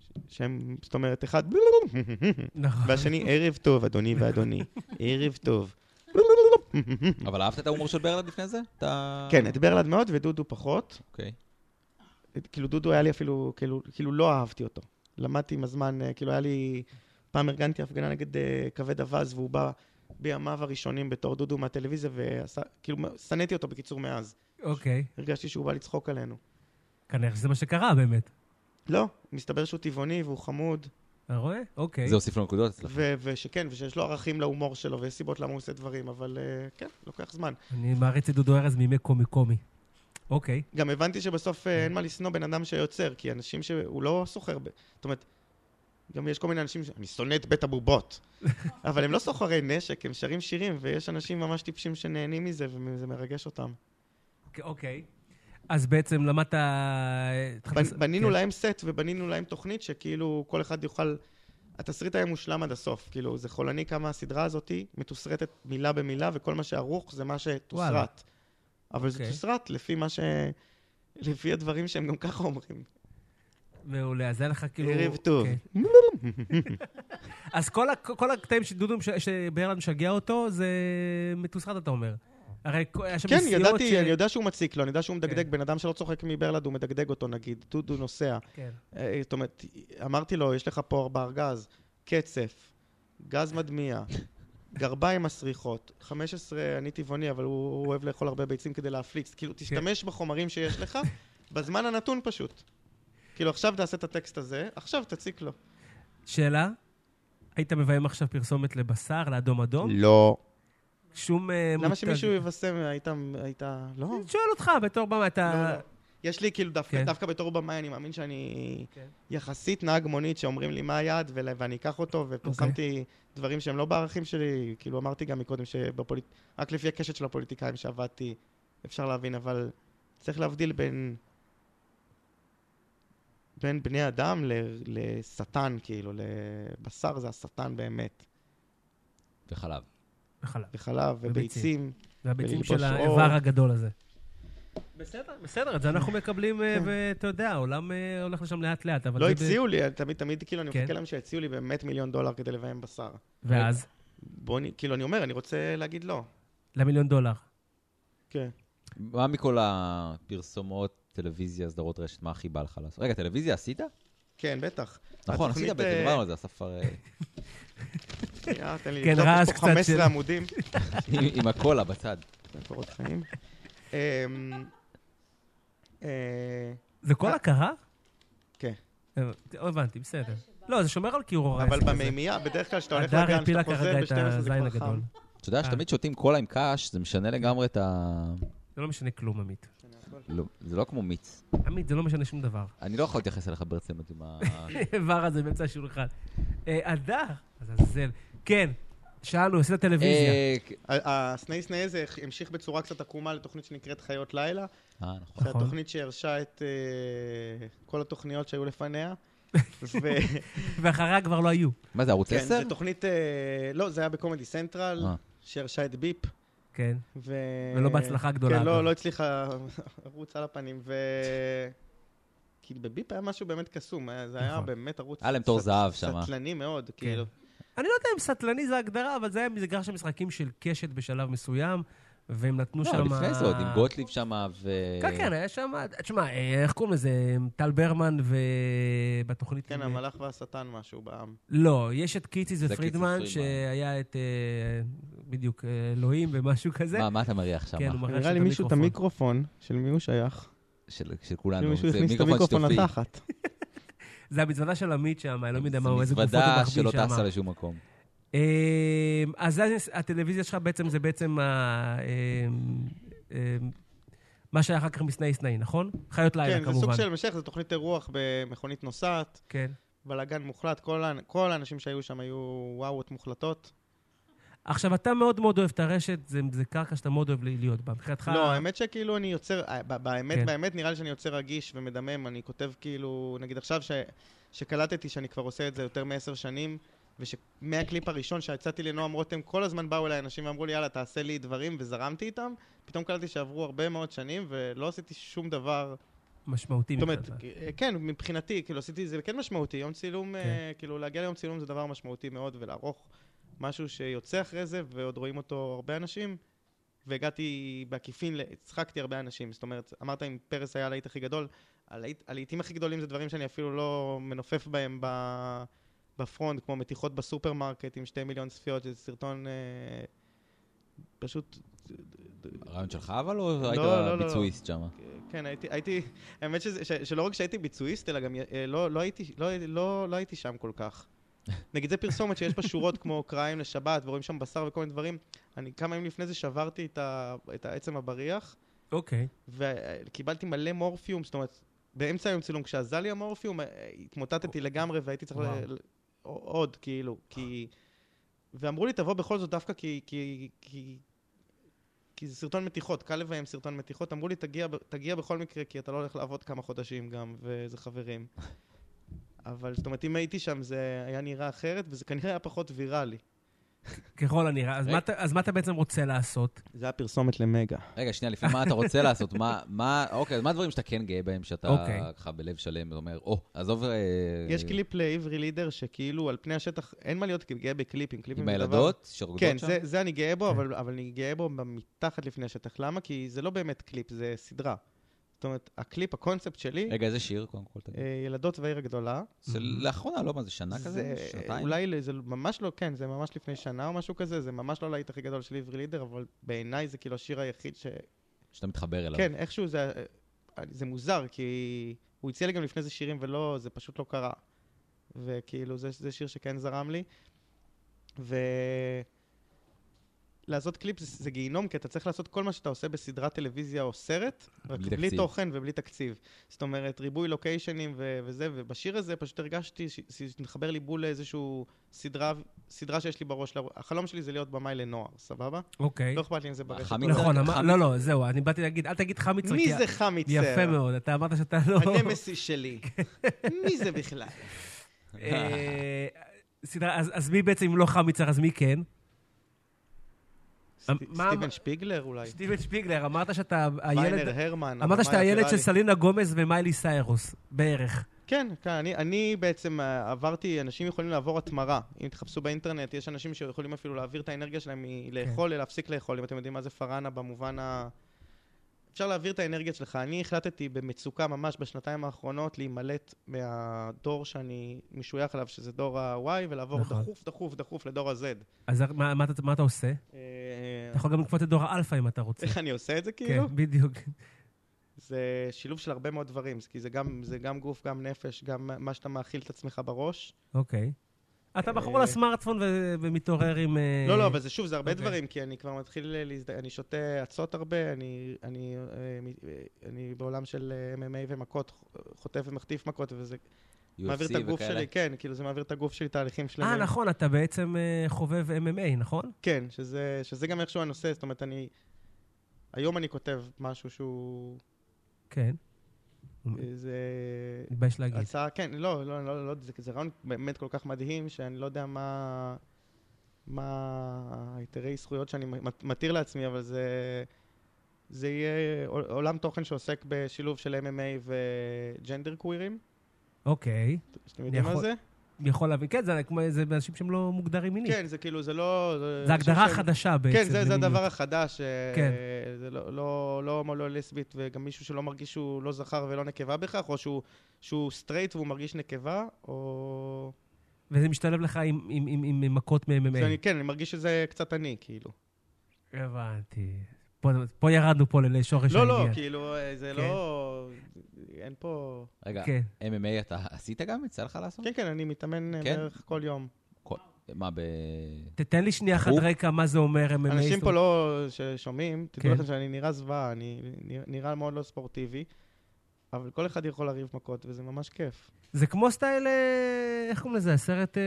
Speaker 3: ש- שהם, זאת אומרת, אחד...
Speaker 2: נכון.
Speaker 3: והשני, ערב טוב, אדוני ואדוני. ערב טוב.
Speaker 1: אבל אהבת את ההומור של ברלד לפני זה? אתה...
Speaker 3: כן, את ברלד מאוד ודודו פחות.
Speaker 1: אוקיי.
Speaker 3: את- כאילו דודו היה לי אפילו, כאילו, כאילו לא אהבתי אותו. למדתי עם הזמן, אה, כאילו היה לי, פעם ארגנתי הפגנה נגד אה, כבד אווז, והוא בא בימיו הראשונים בתור דודו מהטלוויזיה, וכאילו שנאתי אותו בקיצור מאז.
Speaker 2: אוקיי.
Speaker 3: הרגשתי שהוא בא לצחוק עלינו.
Speaker 2: כנראה שזה מה שקרה באמת.
Speaker 3: לא, מסתבר שהוא טבעוני והוא חמוד,
Speaker 2: אתה רואה? אוקיי.
Speaker 1: זה הוסיף לו נקודות אצלך.
Speaker 3: ו- ושכן, ושיש לו ערכים להומור שלו, ויש סיבות למה הוא עושה דברים, אבל אה, כן, לוקח זמן.
Speaker 2: אני מעריץ את דודו ארז מימי קומי קומי. אוקיי.
Speaker 3: גם הבנתי שבסוף אה, אין מה לשנוא בן אדם שיוצר, כי אנשים שהוא לא סוחר ב... זאת אומרת, גם יש כל מיני אנשים ש... אני שונא את בית הבובות. אבל הם לא סוחרי נשק, הם שרים שירים, ויש אנשים ממש טיפשים שנהנים מזה, וזה מרגש אותם.
Speaker 2: אוקיי. אז בעצם למדת...
Speaker 3: בנ- בנינו
Speaker 2: כן.
Speaker 3: להם סט ובנינו להם תוכנית שכאילו כל אחד יוכל... התסריט היה מושלם עד הסוף, כאילו זה חולני כמה הסדרה הזאתי מתוסרטת מילה במילה, וכל מה שערוך זה מה
Speaker 2: וואלה.
Speaker 3: שתוסרט. אבל זה
Speaker 2: אוקיי.
Speaker 3: תוסרט לפי מה ש... לפי הדברים שהם גם ככה אומרים.
Speaker 2: מעולה, אז היה לך כאילו...
Speaker 3: ערב טוב.
Speaker 2: אוקיי. אז כל ה- כל הקטעים שדודו, מש- שברלן משגע אותו, זה מתוסרט, אתה אומר. הרי כל- היה שם
Speaker 3: כן,
Speaker 2: נסיעות ש-
Speaker 3: ידעתי, אני יודע שהוא מציק לו, אני יודע שהוא מדגדג.
Speaker 2: כן.
Speaker 3: בן אדם שלא צוחק מברלד, הוא מדגדג אותו נגיד. דודו נוסע.
Speaker 2: כן.
Speaker 3: אה, זאת אומרת, אמרתי לו, יש לך פה בארגז, קצף, גז מדמיע, גרביים מסריחות, 15, אני טבעוני, אבל הוא הוא אוהב לאכול הרבה ביצים כדי להפליץ. כאילו, תשתמש בחומרים שיש לך, בזמן הנתון פשוט. כאילו, עכשיו תעשה את הטקסט הזה, עכשיו תציק לו.
Speaker 2: שאלה? היית מביים עכשיו פרסומת לבשר, לאדום אדום?
Speaker 3: לא.
Speaker 2: שום... אה,
Speaker 3: למה
Speaker 2: מותג-
Speaker 3: שמישהו יבשם, הייתה, הייתה, לא.
Speaker 2: אני שואל אותך, בתור במה,
Speaker 3: לא,
Speaker 2: אתה...
Speaker 3: לא. יש לי כאילו דווקא,
Speaker 2: כן.
Speaker 3: דווקא בתור במאי, אני מאמין שאני
Speaker 2: כן.
Speaker 3: יחסית נהג מונית שאומרים לי מה היעד ול- ואני אקח אותו,
Speaker 2: אוקיי.
Speaker 3: ופרסמתי דברים שהם לא בערכים שלי, כאילו אמרתי גם מקודם שבפוליט... רק לפי הקשת של הפוליטיקאים שעבדתי, אפשר להבין, אבל צריך להבדיל בין... בין בני אדם ל... לשטן, כאילו, לבשר זה השטן באמת,
Speaker 1: וחלב.
Speaker 2: בחלל.
Speaker 3: וחלב
Speaker 2: וביצים.
Speaker 3: וביצים.
Speaker 2: והביצים
Speaker 3: וללבוש
Speaker 2: של
Speaker 3: עור.
Speaker 2: האיבר הגדול הזה. בסדר, בסדר, את זה אנחנו מקבלים, אה,
Speaker 3: כן.
Speaker 2: ואתה יודע, העולם אה, הולך לשם לאט-לאט, אבל...
Speaker 3: לא
Speaker 2: זה ב-
Speaker 3: הציעו לי, תמיד, תמיד, כאילו, אני
Speaker 2: כן.
Speaker 3: מחכה להם שיציעו לי באמת מיליון דולר כדי לביים בשר.
Speaker 2: ואז?
Speaker 3: בוא, נ- כאילו, אני אומר, אני רוצה להגיד לא.
Speaker 2: למיליון דולר.
Speaker 3: כן.
Speaker 1: מה מכל הפרסומות, טלוויזיה, סדרות רשת, מה הכי בא לך לעשות? רגע, טלוויזיה עשית?
Speaker 3: כן, בטח.
Speaker 1: נכון, עשית
Speaker 3: התוכנית,
Speaker 1: בטח,
Speaker 3: אה,
Speaker 1: דיברנו על זה, אסף הרי...
Speaker 3: שנייה, תן לי
Speaker 2: כן,
Speaker 3: לבדוק,
Speaker 2: רעש
Speaker 3: יש
Speaker 2: קצת
Speaker 3: פה
Speaker 2: של-
Speaker 3: 15 עמודים.
Speaker 1: עם- עם הקולה בצד.
Speaker 3: זה קורות חיים. אמ, אה,
Speaker 2: זה כל
Speaker 3: אה.
Speaker 2: הכרה?
Speaker 3: כן.
Speaker 2: אה, הבנתי, בסדר. לא, זה שומר על קיור
Speaker 3: אבל במימייה, בדרך כלל כשאתה הולך
Speaker 2: הדר
Speaker 3: לגן,
Speaker 2: הפילה
Speaker 3: כשאתה
Speaker 2: ככה
Speaker 3: חוזר
Speaker 2: די את
Speaker 3: ב-12 זה
Speaker 2: הזין
Speaker 3: כבר חם.
Speaker 2: הגדול.
Speaker 1: אתה יודע שתמיד שותים קולה עם קש, זה משנה לגמרי את ה...
Speaker 2: זה לא משנה כלום, עמית.
Speaker 1: לא, זה לא כמו מיץ.
Speaker 2: עמית, זה לא משנה שום דבר.
Speaker 1: אני לא יכול להתייחס אליך ברצינות עם ה...
Speaker 2: העבר הזה באמצע השולחן. אה, אדר, עזאזל. כן, שאלנו, עשית טלוויזיה.
Speaker 1: אה,
Speaker 3: הסנאי סנאי הזה המשיך בצורה קצת עקומה לתוכנית שנקראת חיות לילה,
Speaker 1: אה, נכון.
Speaker 3: זו
Speaker 2: נכון.
Speaker 3: התוכנית שהרשה את אה, כל התוכניות שהיו לפניה. ו-
Speaker 2: ואחריה כבר לא היו.
Speaker 1: מה זה, ערוץ
Speaker 3: כן,
Speaker 1: 10?
Speaker 3: זו תוכנית, אה, לא, זה היה בקומדי סנטרל,
Speaker 1: אה.
Speaker 3: שהרשה את ביפ.
Speaker 2: כן.
Speaker 3: ו...
Speaker 2: ולא בהצלחה גדולה,
Speaker 3: כן,
Speaker 2: אגב.
Speaker 3: לא, לא הצליחה, ערוץ על הפנים, ו... כי בביפ היה משהו באמת קסום, היה- זה היה
Speaker 2: נכון. כן,
Speaker 3: באמת ערוץ...
Speaker 1: היה להם תור
Speaker 3: סט-
Speaker 1: זהב שמה.
Speaker 3: סטלני מאוד, כאילו.
Speaker 2: אני לא יודע אם סטלני זה הגדרה, אבל זה היה מגרש המשחקים של קשת בשלב מסוים, והם נתנו
Speaker 1: לא,
Speaker 2: שם...
Speaker 1: לפני זה עוד עם גוטליב שמה, ו...
Speaker 2: כן, כן, היה שם... תשמע, אה, איך קוראים לזה? טל ברמן ו... בתוכנית...
Speaker 3: כן,
Speaker 2: עם-
Speaker 3: המלאך והשטן משהו בעם.
Speaker 2: לא, יש את קיציס
Speaker 1: זה
Speaker 2: ופרידמן,
Speaker 1: קיציס פרידמן.
Speaker 2: שהיה את... אה, בדיוק, אה, אלוהים ומשהו כזה.
Speaker 1: מה, מה אתה מריח שם?
Speaker 2: כן, הוא מראה
Speaker 3: נראה לי מישהו את המיקרופון, של מי הוא שייך?
Speaker 1: של, של כולנו.
Speaker 3: מישהו
Speaker 1: זה
Speaker 3: הכניס את המיקרופון
Speaker 1: שיתופי.
Speaker 3: לתחת.
Speaker 2: זה המזוודה של עמית שם, אני לא יודע מה הוא, איזה
Speaker 1: זו
Speaker 2: גופות הוא
Speaker 1: מזוודה
Speaker 2: מחביא
Speaker 1: שלא טסה
Speaker 2: שם.
Speaker 1: לשום מקום.
Speaker 2: אה, אז זה- הטלוויזיה שלך בעצם זה בעצם ה- אה, אה, מה שהיה אחר כך מסנאי סנאי, נכון? חיות
Speaker 3: כן,
Speaker 2: לילה
Speaker 3: זה סוג
Speaker 2: כמובן.
Speaker 3: של המשך, זו תוכנית אירוח במכונית נוסעת,
Speaker 2: כן.
Speaker 3: בלאגן מוחלט, כל האנ- כל האנשים שהיו שם היו וואוות מוחלטות.
Speaker 2: עכשיו, אתה מאוד מאוד אוהב את הרשת, זה זה קרקע שאתה מאוד אוהב להיות בה. מבחינתך...
Speaker 3: לא, האמת שכאילו אני יוצר, אה, ב-
Speaker 2: כן.
Speaker 3: באמת, באמת נראה לי שאני יוצר רגיש ומדמם. אני כותב כאילו, נגיד עכשיו ש- שקלטתי שאני כבר עושה את זה יותר מעשר שנים, ושמהקליפ הראשון שיצאתי לנועם רותם, כל הזמן באו אליי אנשים ואמרו לי, יאללה, תעשה לי דברים, וזרמתי איתם. פתאום קלטתי שעברו הרבה מאוד שנים, ולא עשיתי שום דבר.
Speaker 2: משמעותי
Speaker 3: זאת אומרת,
Speaker 2: מבחינתך.
Speaker 3: אה, כן, מבחינתי, כאילו עשיתי, זה כן משמעותי. יום צילום, אה, כאילו להגיע ליום צילום זה דבר משמעותי מאוד, ולערוך משהו שיוצא אחרי זה, ועוד רואים אותו הרבה אנשים. והגעתי בעקיפין, ל- הצחקתי הרבה אנשים. זאת אומרת, אמרת אם פרס היה הלהיט הכי גדול, הלהיט- הלהיטים הכי גדולים זה דברים שאני אפילו לא מנופף בהם ב- בפרונט, כמו מתיחות בסופרמרקט עם שתי מיליון צפיות, שזה סרטון אה, פשוט...
Speaker 1: הרעיון שלך אבל, או
Speaker 3: לא, לא,
Speaker 1: היית
Speaker 3: לא.
Speaker 1: ביצועיסט שם?
Speaker 3: כן, הייתי, הייתי, האמת שזה, ש, שלא רק שהייתי ביצועיסט, אלא גם אה, לא, לא, הייתי, לא, לא, לא הייתי שם כל כך. נגיד זה פרסומת שיש בה שורות כמו קריים לשבת, ורואים שם בשר וכל מיני דברים. אני כמה ימים לפני זה שברתי את, ה, את העצם הבריח,
Speaker 2: אוקיי.
Speaker 3: וקיבלתי מלא מורפיום, זאת אומרת, באמצע היום צילום, כשאזל לי המורפיום, אה, התמוטטתי לגמרי והייתי צריך
Speaker 2: וואו.
Speaker 3: ל, ל, עוד, כאילו, כי... ואמרו לי, תבוא בכל זאת דווקא כי... כי, כי כי זה סרטון מתיחות, קל לביים סרטון מתיחות. אמרו לי, תגיע, ב- תגיע בכל מקרה, כי אתה לא הולך לעבוד כמה חודשים גם, וזה חברים. אבל זאת אומרת, אם הייתי שם, זה היה נראה אחרת, וזה כנראה היה פחות ויראלי.
Speaker 2: ככל הנראה.
Speaker 3: אה?
Speaker 2: אז מה אתה- אז מה אתה בעצם רוצה לעשות?
Speaker 3: זה היה פרסומת למגה.
Speaker 1: רגע, שנייה, לפני מה אתה רוצה לעשות? מה, מה, אוקיי, אז מה הדברים שאתה כן גאה בהם, שאתה
Speaker 2: אוקיי.
Speaker 1: ככה בלב שלם אומר, או, עזוב... אה,
Speaker 3: יש קליפ לעברי לידר, שכאילו, על פני השטח, אין מה להיות גאה בקליפים. קליפים
Speaker 1: עם
Speaker 3: זה דבר-
Speaker 1: הילדות שרוקדות
Speaker 3: כן,
Speaker 1: שם?
Speaker 3: זה, זה אני גאה בו,
Speaker 2: כן.
Speaker 3: אבל, אבל אני גאה בו מתחת לפני השטח. למה? כי זה לא באמת קליפ, זה סדרה. זאת אומרת, הקליפ, הקונספט שלי,
Speaker 1: רגע, איזה שיר, קודם כל, תגיד.
Speaker 3: אה, ילדות והעיר הגדולה.
Speaker 1: זה לאחרונה, לא, מה זה שנה
Speaker 3: אה, זה
Speaker 1: כזה? שנתיים?
Speaker 3: אולי, לא- זה ממש לא, כן, זה ממש לפני שנה או משהו כזה, זה ממש לא הלהיט הכי גדול של עברי לידר, אבל בעיניי זה כאילו השיר היחיד ש...
Speaker 1: שאתה מתחבר אליו.
Speaker 3: כן, איכשהו זה... אה, זה מוזר, כי הוא הציע לי גם לפני זה שירים ולא, זה פשוט לא קרה. וכאילו, זה, זה שיר שכן זרם לי. ו... לעשות קליפ זה, זה גיהינום, כי אתה צריך לעשות כל מה שאתה עושה בסדרת טלוויזיה או סרט, רק
Speaker 1: בלי
Speaker 3: בלי,
Speaker 1: תקציב.
Speaker 3: בלי תוכן ובלי תקציב. זאת אומרת, ריבוי לוקיישנים ו- וזה, ובשיר הזה פשוט הרגשתי ש- שמתחבר לי בול לאיזשהו סדרה, סדרה שיש לי בראש. ל- החלום שלי זה להיות במאי לנוער, סבבה?
Speaker 2: אוקיי.
Speaker 3: לא אכפת לי אם זה ברשת.
Speaker 1: החמיצה?
Speaker 3: או לא.
Speaker 2: נכון, אמר-
Speaker 1: חמיצר.
Speaker 2: לא, לא, זהו, אני באתי להגיד, אל תגיד חמיצר.
Speaker 3: מי
Speaker 2: כי-
Speaker 3: זה אה? חמיצר?
Speaker 2: יפה מאוד, אתה אמרת שאתה לא...
Speaker 3: הנמסי שלי. מי זה בכלל?
Speaker 2: אה, סדרה, אז אז מי בעצם, אם לא חמיצר, אז מי כן?
Speaker 3: סט-
Speaker 2: מה-
Speaker 3: סטיבן שפיגלר אולי?
Speaker 2: סטיבן שפיגלר, אמרת שאתה
Speaker 3: ויינר
Speaker 2: הילד...
Speaker 3: הרמן. הבמאי
Speaker 2: אמרת שאתה הילד של
Speaker 3: הוויראלי.
Speaker 2: סלינה גומז ומיילי סיירוס, בערך.
Speaker 3: כן, כן, אני- אני בעצם אה, עברתי, אנשים יכולים לעבור התמרה. אם תחפשו באינטרנט, יש אנשים שיכולים אפילו להעביר את האנרגיה שלהם
Speaker 2: כן.
Speaker 3: מלאכול ללהפסיק לאכול, אם אתם יודעים מה זה פארנה במובן ה... אפשר להעביר את האנרגיה שלך. אני החלטתי במצוקה ממש בשנתיים האחרונות להימלט מהדור שאני משוייך אליו, שזה דור ה-Y, ולעבור
Speaker 2: נכון.
Speaker 3: דחוף, דחוף, דחוף לדור ה-Z.
Speaker 2: אז מה- מה אתה- מה אתה עושה?
Speaker 3: אה,
Speaker 2: אתה יכול גם לקפוץ את דור האלפא אם אתה רוצה.
Speaker 3: איך אני עושה את זה כאילו?
Speaker 2: נכון. כן, בדיוק.
Speaker 3: זה שילוב של הרבה מאוד דברים, כי זה גם, זה גם גוף, גם נפש, גם מה שאתה מאכיל את עצמך בראש.
Speaker 2: אוקיי. אתה בחור לסמארטפון ו- ומתעורר עם... אה,
Speaker 3: אה, לא, לא, אבל זה שוב, זה הרבה
Speaker 2: אוקיי.
Speaker 3: דברים, כי אני כבר מתחיל אה, להזד... אני שותה אצות הרבה, אני, אני, אה, מ- אה, אני בעולם של אה, MMA ומכות, ח- חוטף ומחטיף מכות, וזה מעביר את
Speaker 1: UFC
Speaker 3: הגוף
Speaker 1: וכאלה.
Speaker 3: שלי, כן, כאילו זה מעביר את הגוף שלי תהליכים שלמים.
Speaker 2: אה, נכון, אתה בעצם אה, חובב MMA, נכון?
Speaker 3: כן, שזה, שזה גם איכשהו הנושא, זאת אומרת, אני... היום אני כותב משהו שהוא...
Speaker 2: כן.
Speaker 3: אה, זה...
Speaker 2: מתבייש להגיד.
Speaker 3: הצעה, כן, לא, לא, לא, לא, זה, זה רעיון באמת כל כך מדהים, שאני לא יודע מה... מה היתרי זכויות שאני מת- מתיר לעצמי, אבל זה... זה יהיה עול- עולם תוכן שעוסק בשילוב של MMA וג'נדר קווירים.
Speaker 2: אוקיי.
Speaker 3: אתם יודעים מה
Speaker 2: יכול-
Speaker 3: זה?
Speaker 2: יכול להבין. כן, זה כמו- זה אנשים שהם לא מוגדרים מינית.
Speaker 3: כן, זה כאילו, זה לא...
Speaker 2: זה
Speaker 3: אנשים
Speaker 2: הגדרה
Speaker 3: שהם-
Speaker 2: חדשה בעצם.
Speaker 3: כן, זה, זה
Speaker 2: למיניות.
Speaker 3: הדבר החדש. אה,
Speaker 2: כן.
Speaker 3: זה לא, לא, לא הומו, לא לסבית, וגם מישהו שלא מרגיש שהוא לא זכר ולא נקבה בהכרח, או שהוא, שהוא סטרייט והוא מרגיש נקבה, או...
Speaker 2: וזה משתלב לך עם- עם- עם עם מכות
Speaker 3: זה
Speaker 2: מ-MMA.
Speaker 3: אני, כן, אני מרגיש שזה קצת אני, כאילו.
Speaker 2: הבנתי. פה- פה ירדנו פה לשורש
Speaker 3: לא, לא,
Speaker 2: העניין.
Speaker 3: כאילו, אה, זה
Speaker 2: כן.
Speaker 3: לא... אין פה...
Speaker 1: רגע,
Speaker 2: כן.
Speaker 1: MMA אתה עשית גם? יצא לך לעשות?
Speaker 3: כן, כן, אני מתאמן אה,
Speaker 1: כן?
Speaker 3: בערך כל יום.
Speaker 1: כל- מה, ב...
Speaker 2: תתן לי שנייה אחת
Speaker 1: הוא-
Speaker 2: רקע מה זה אומר MMA.
Speaker 3: אנשים
Speaker 2: זאת
Speaker 3: פה
Speaker 2: אומרת-
Speaker 3: לא ששומעים, תדעו
Speaker 2: כן.
Speaker 3: לכם שאני נראה זוועה, אני נראה- נראה מאוד לא ספורטיבי, אבל כל אחד יכול לריב מכות, וזה ממש כיף.
Speaker 2: זה כמו סטייל, אה, איך קוראים לזה? הסרט... אה,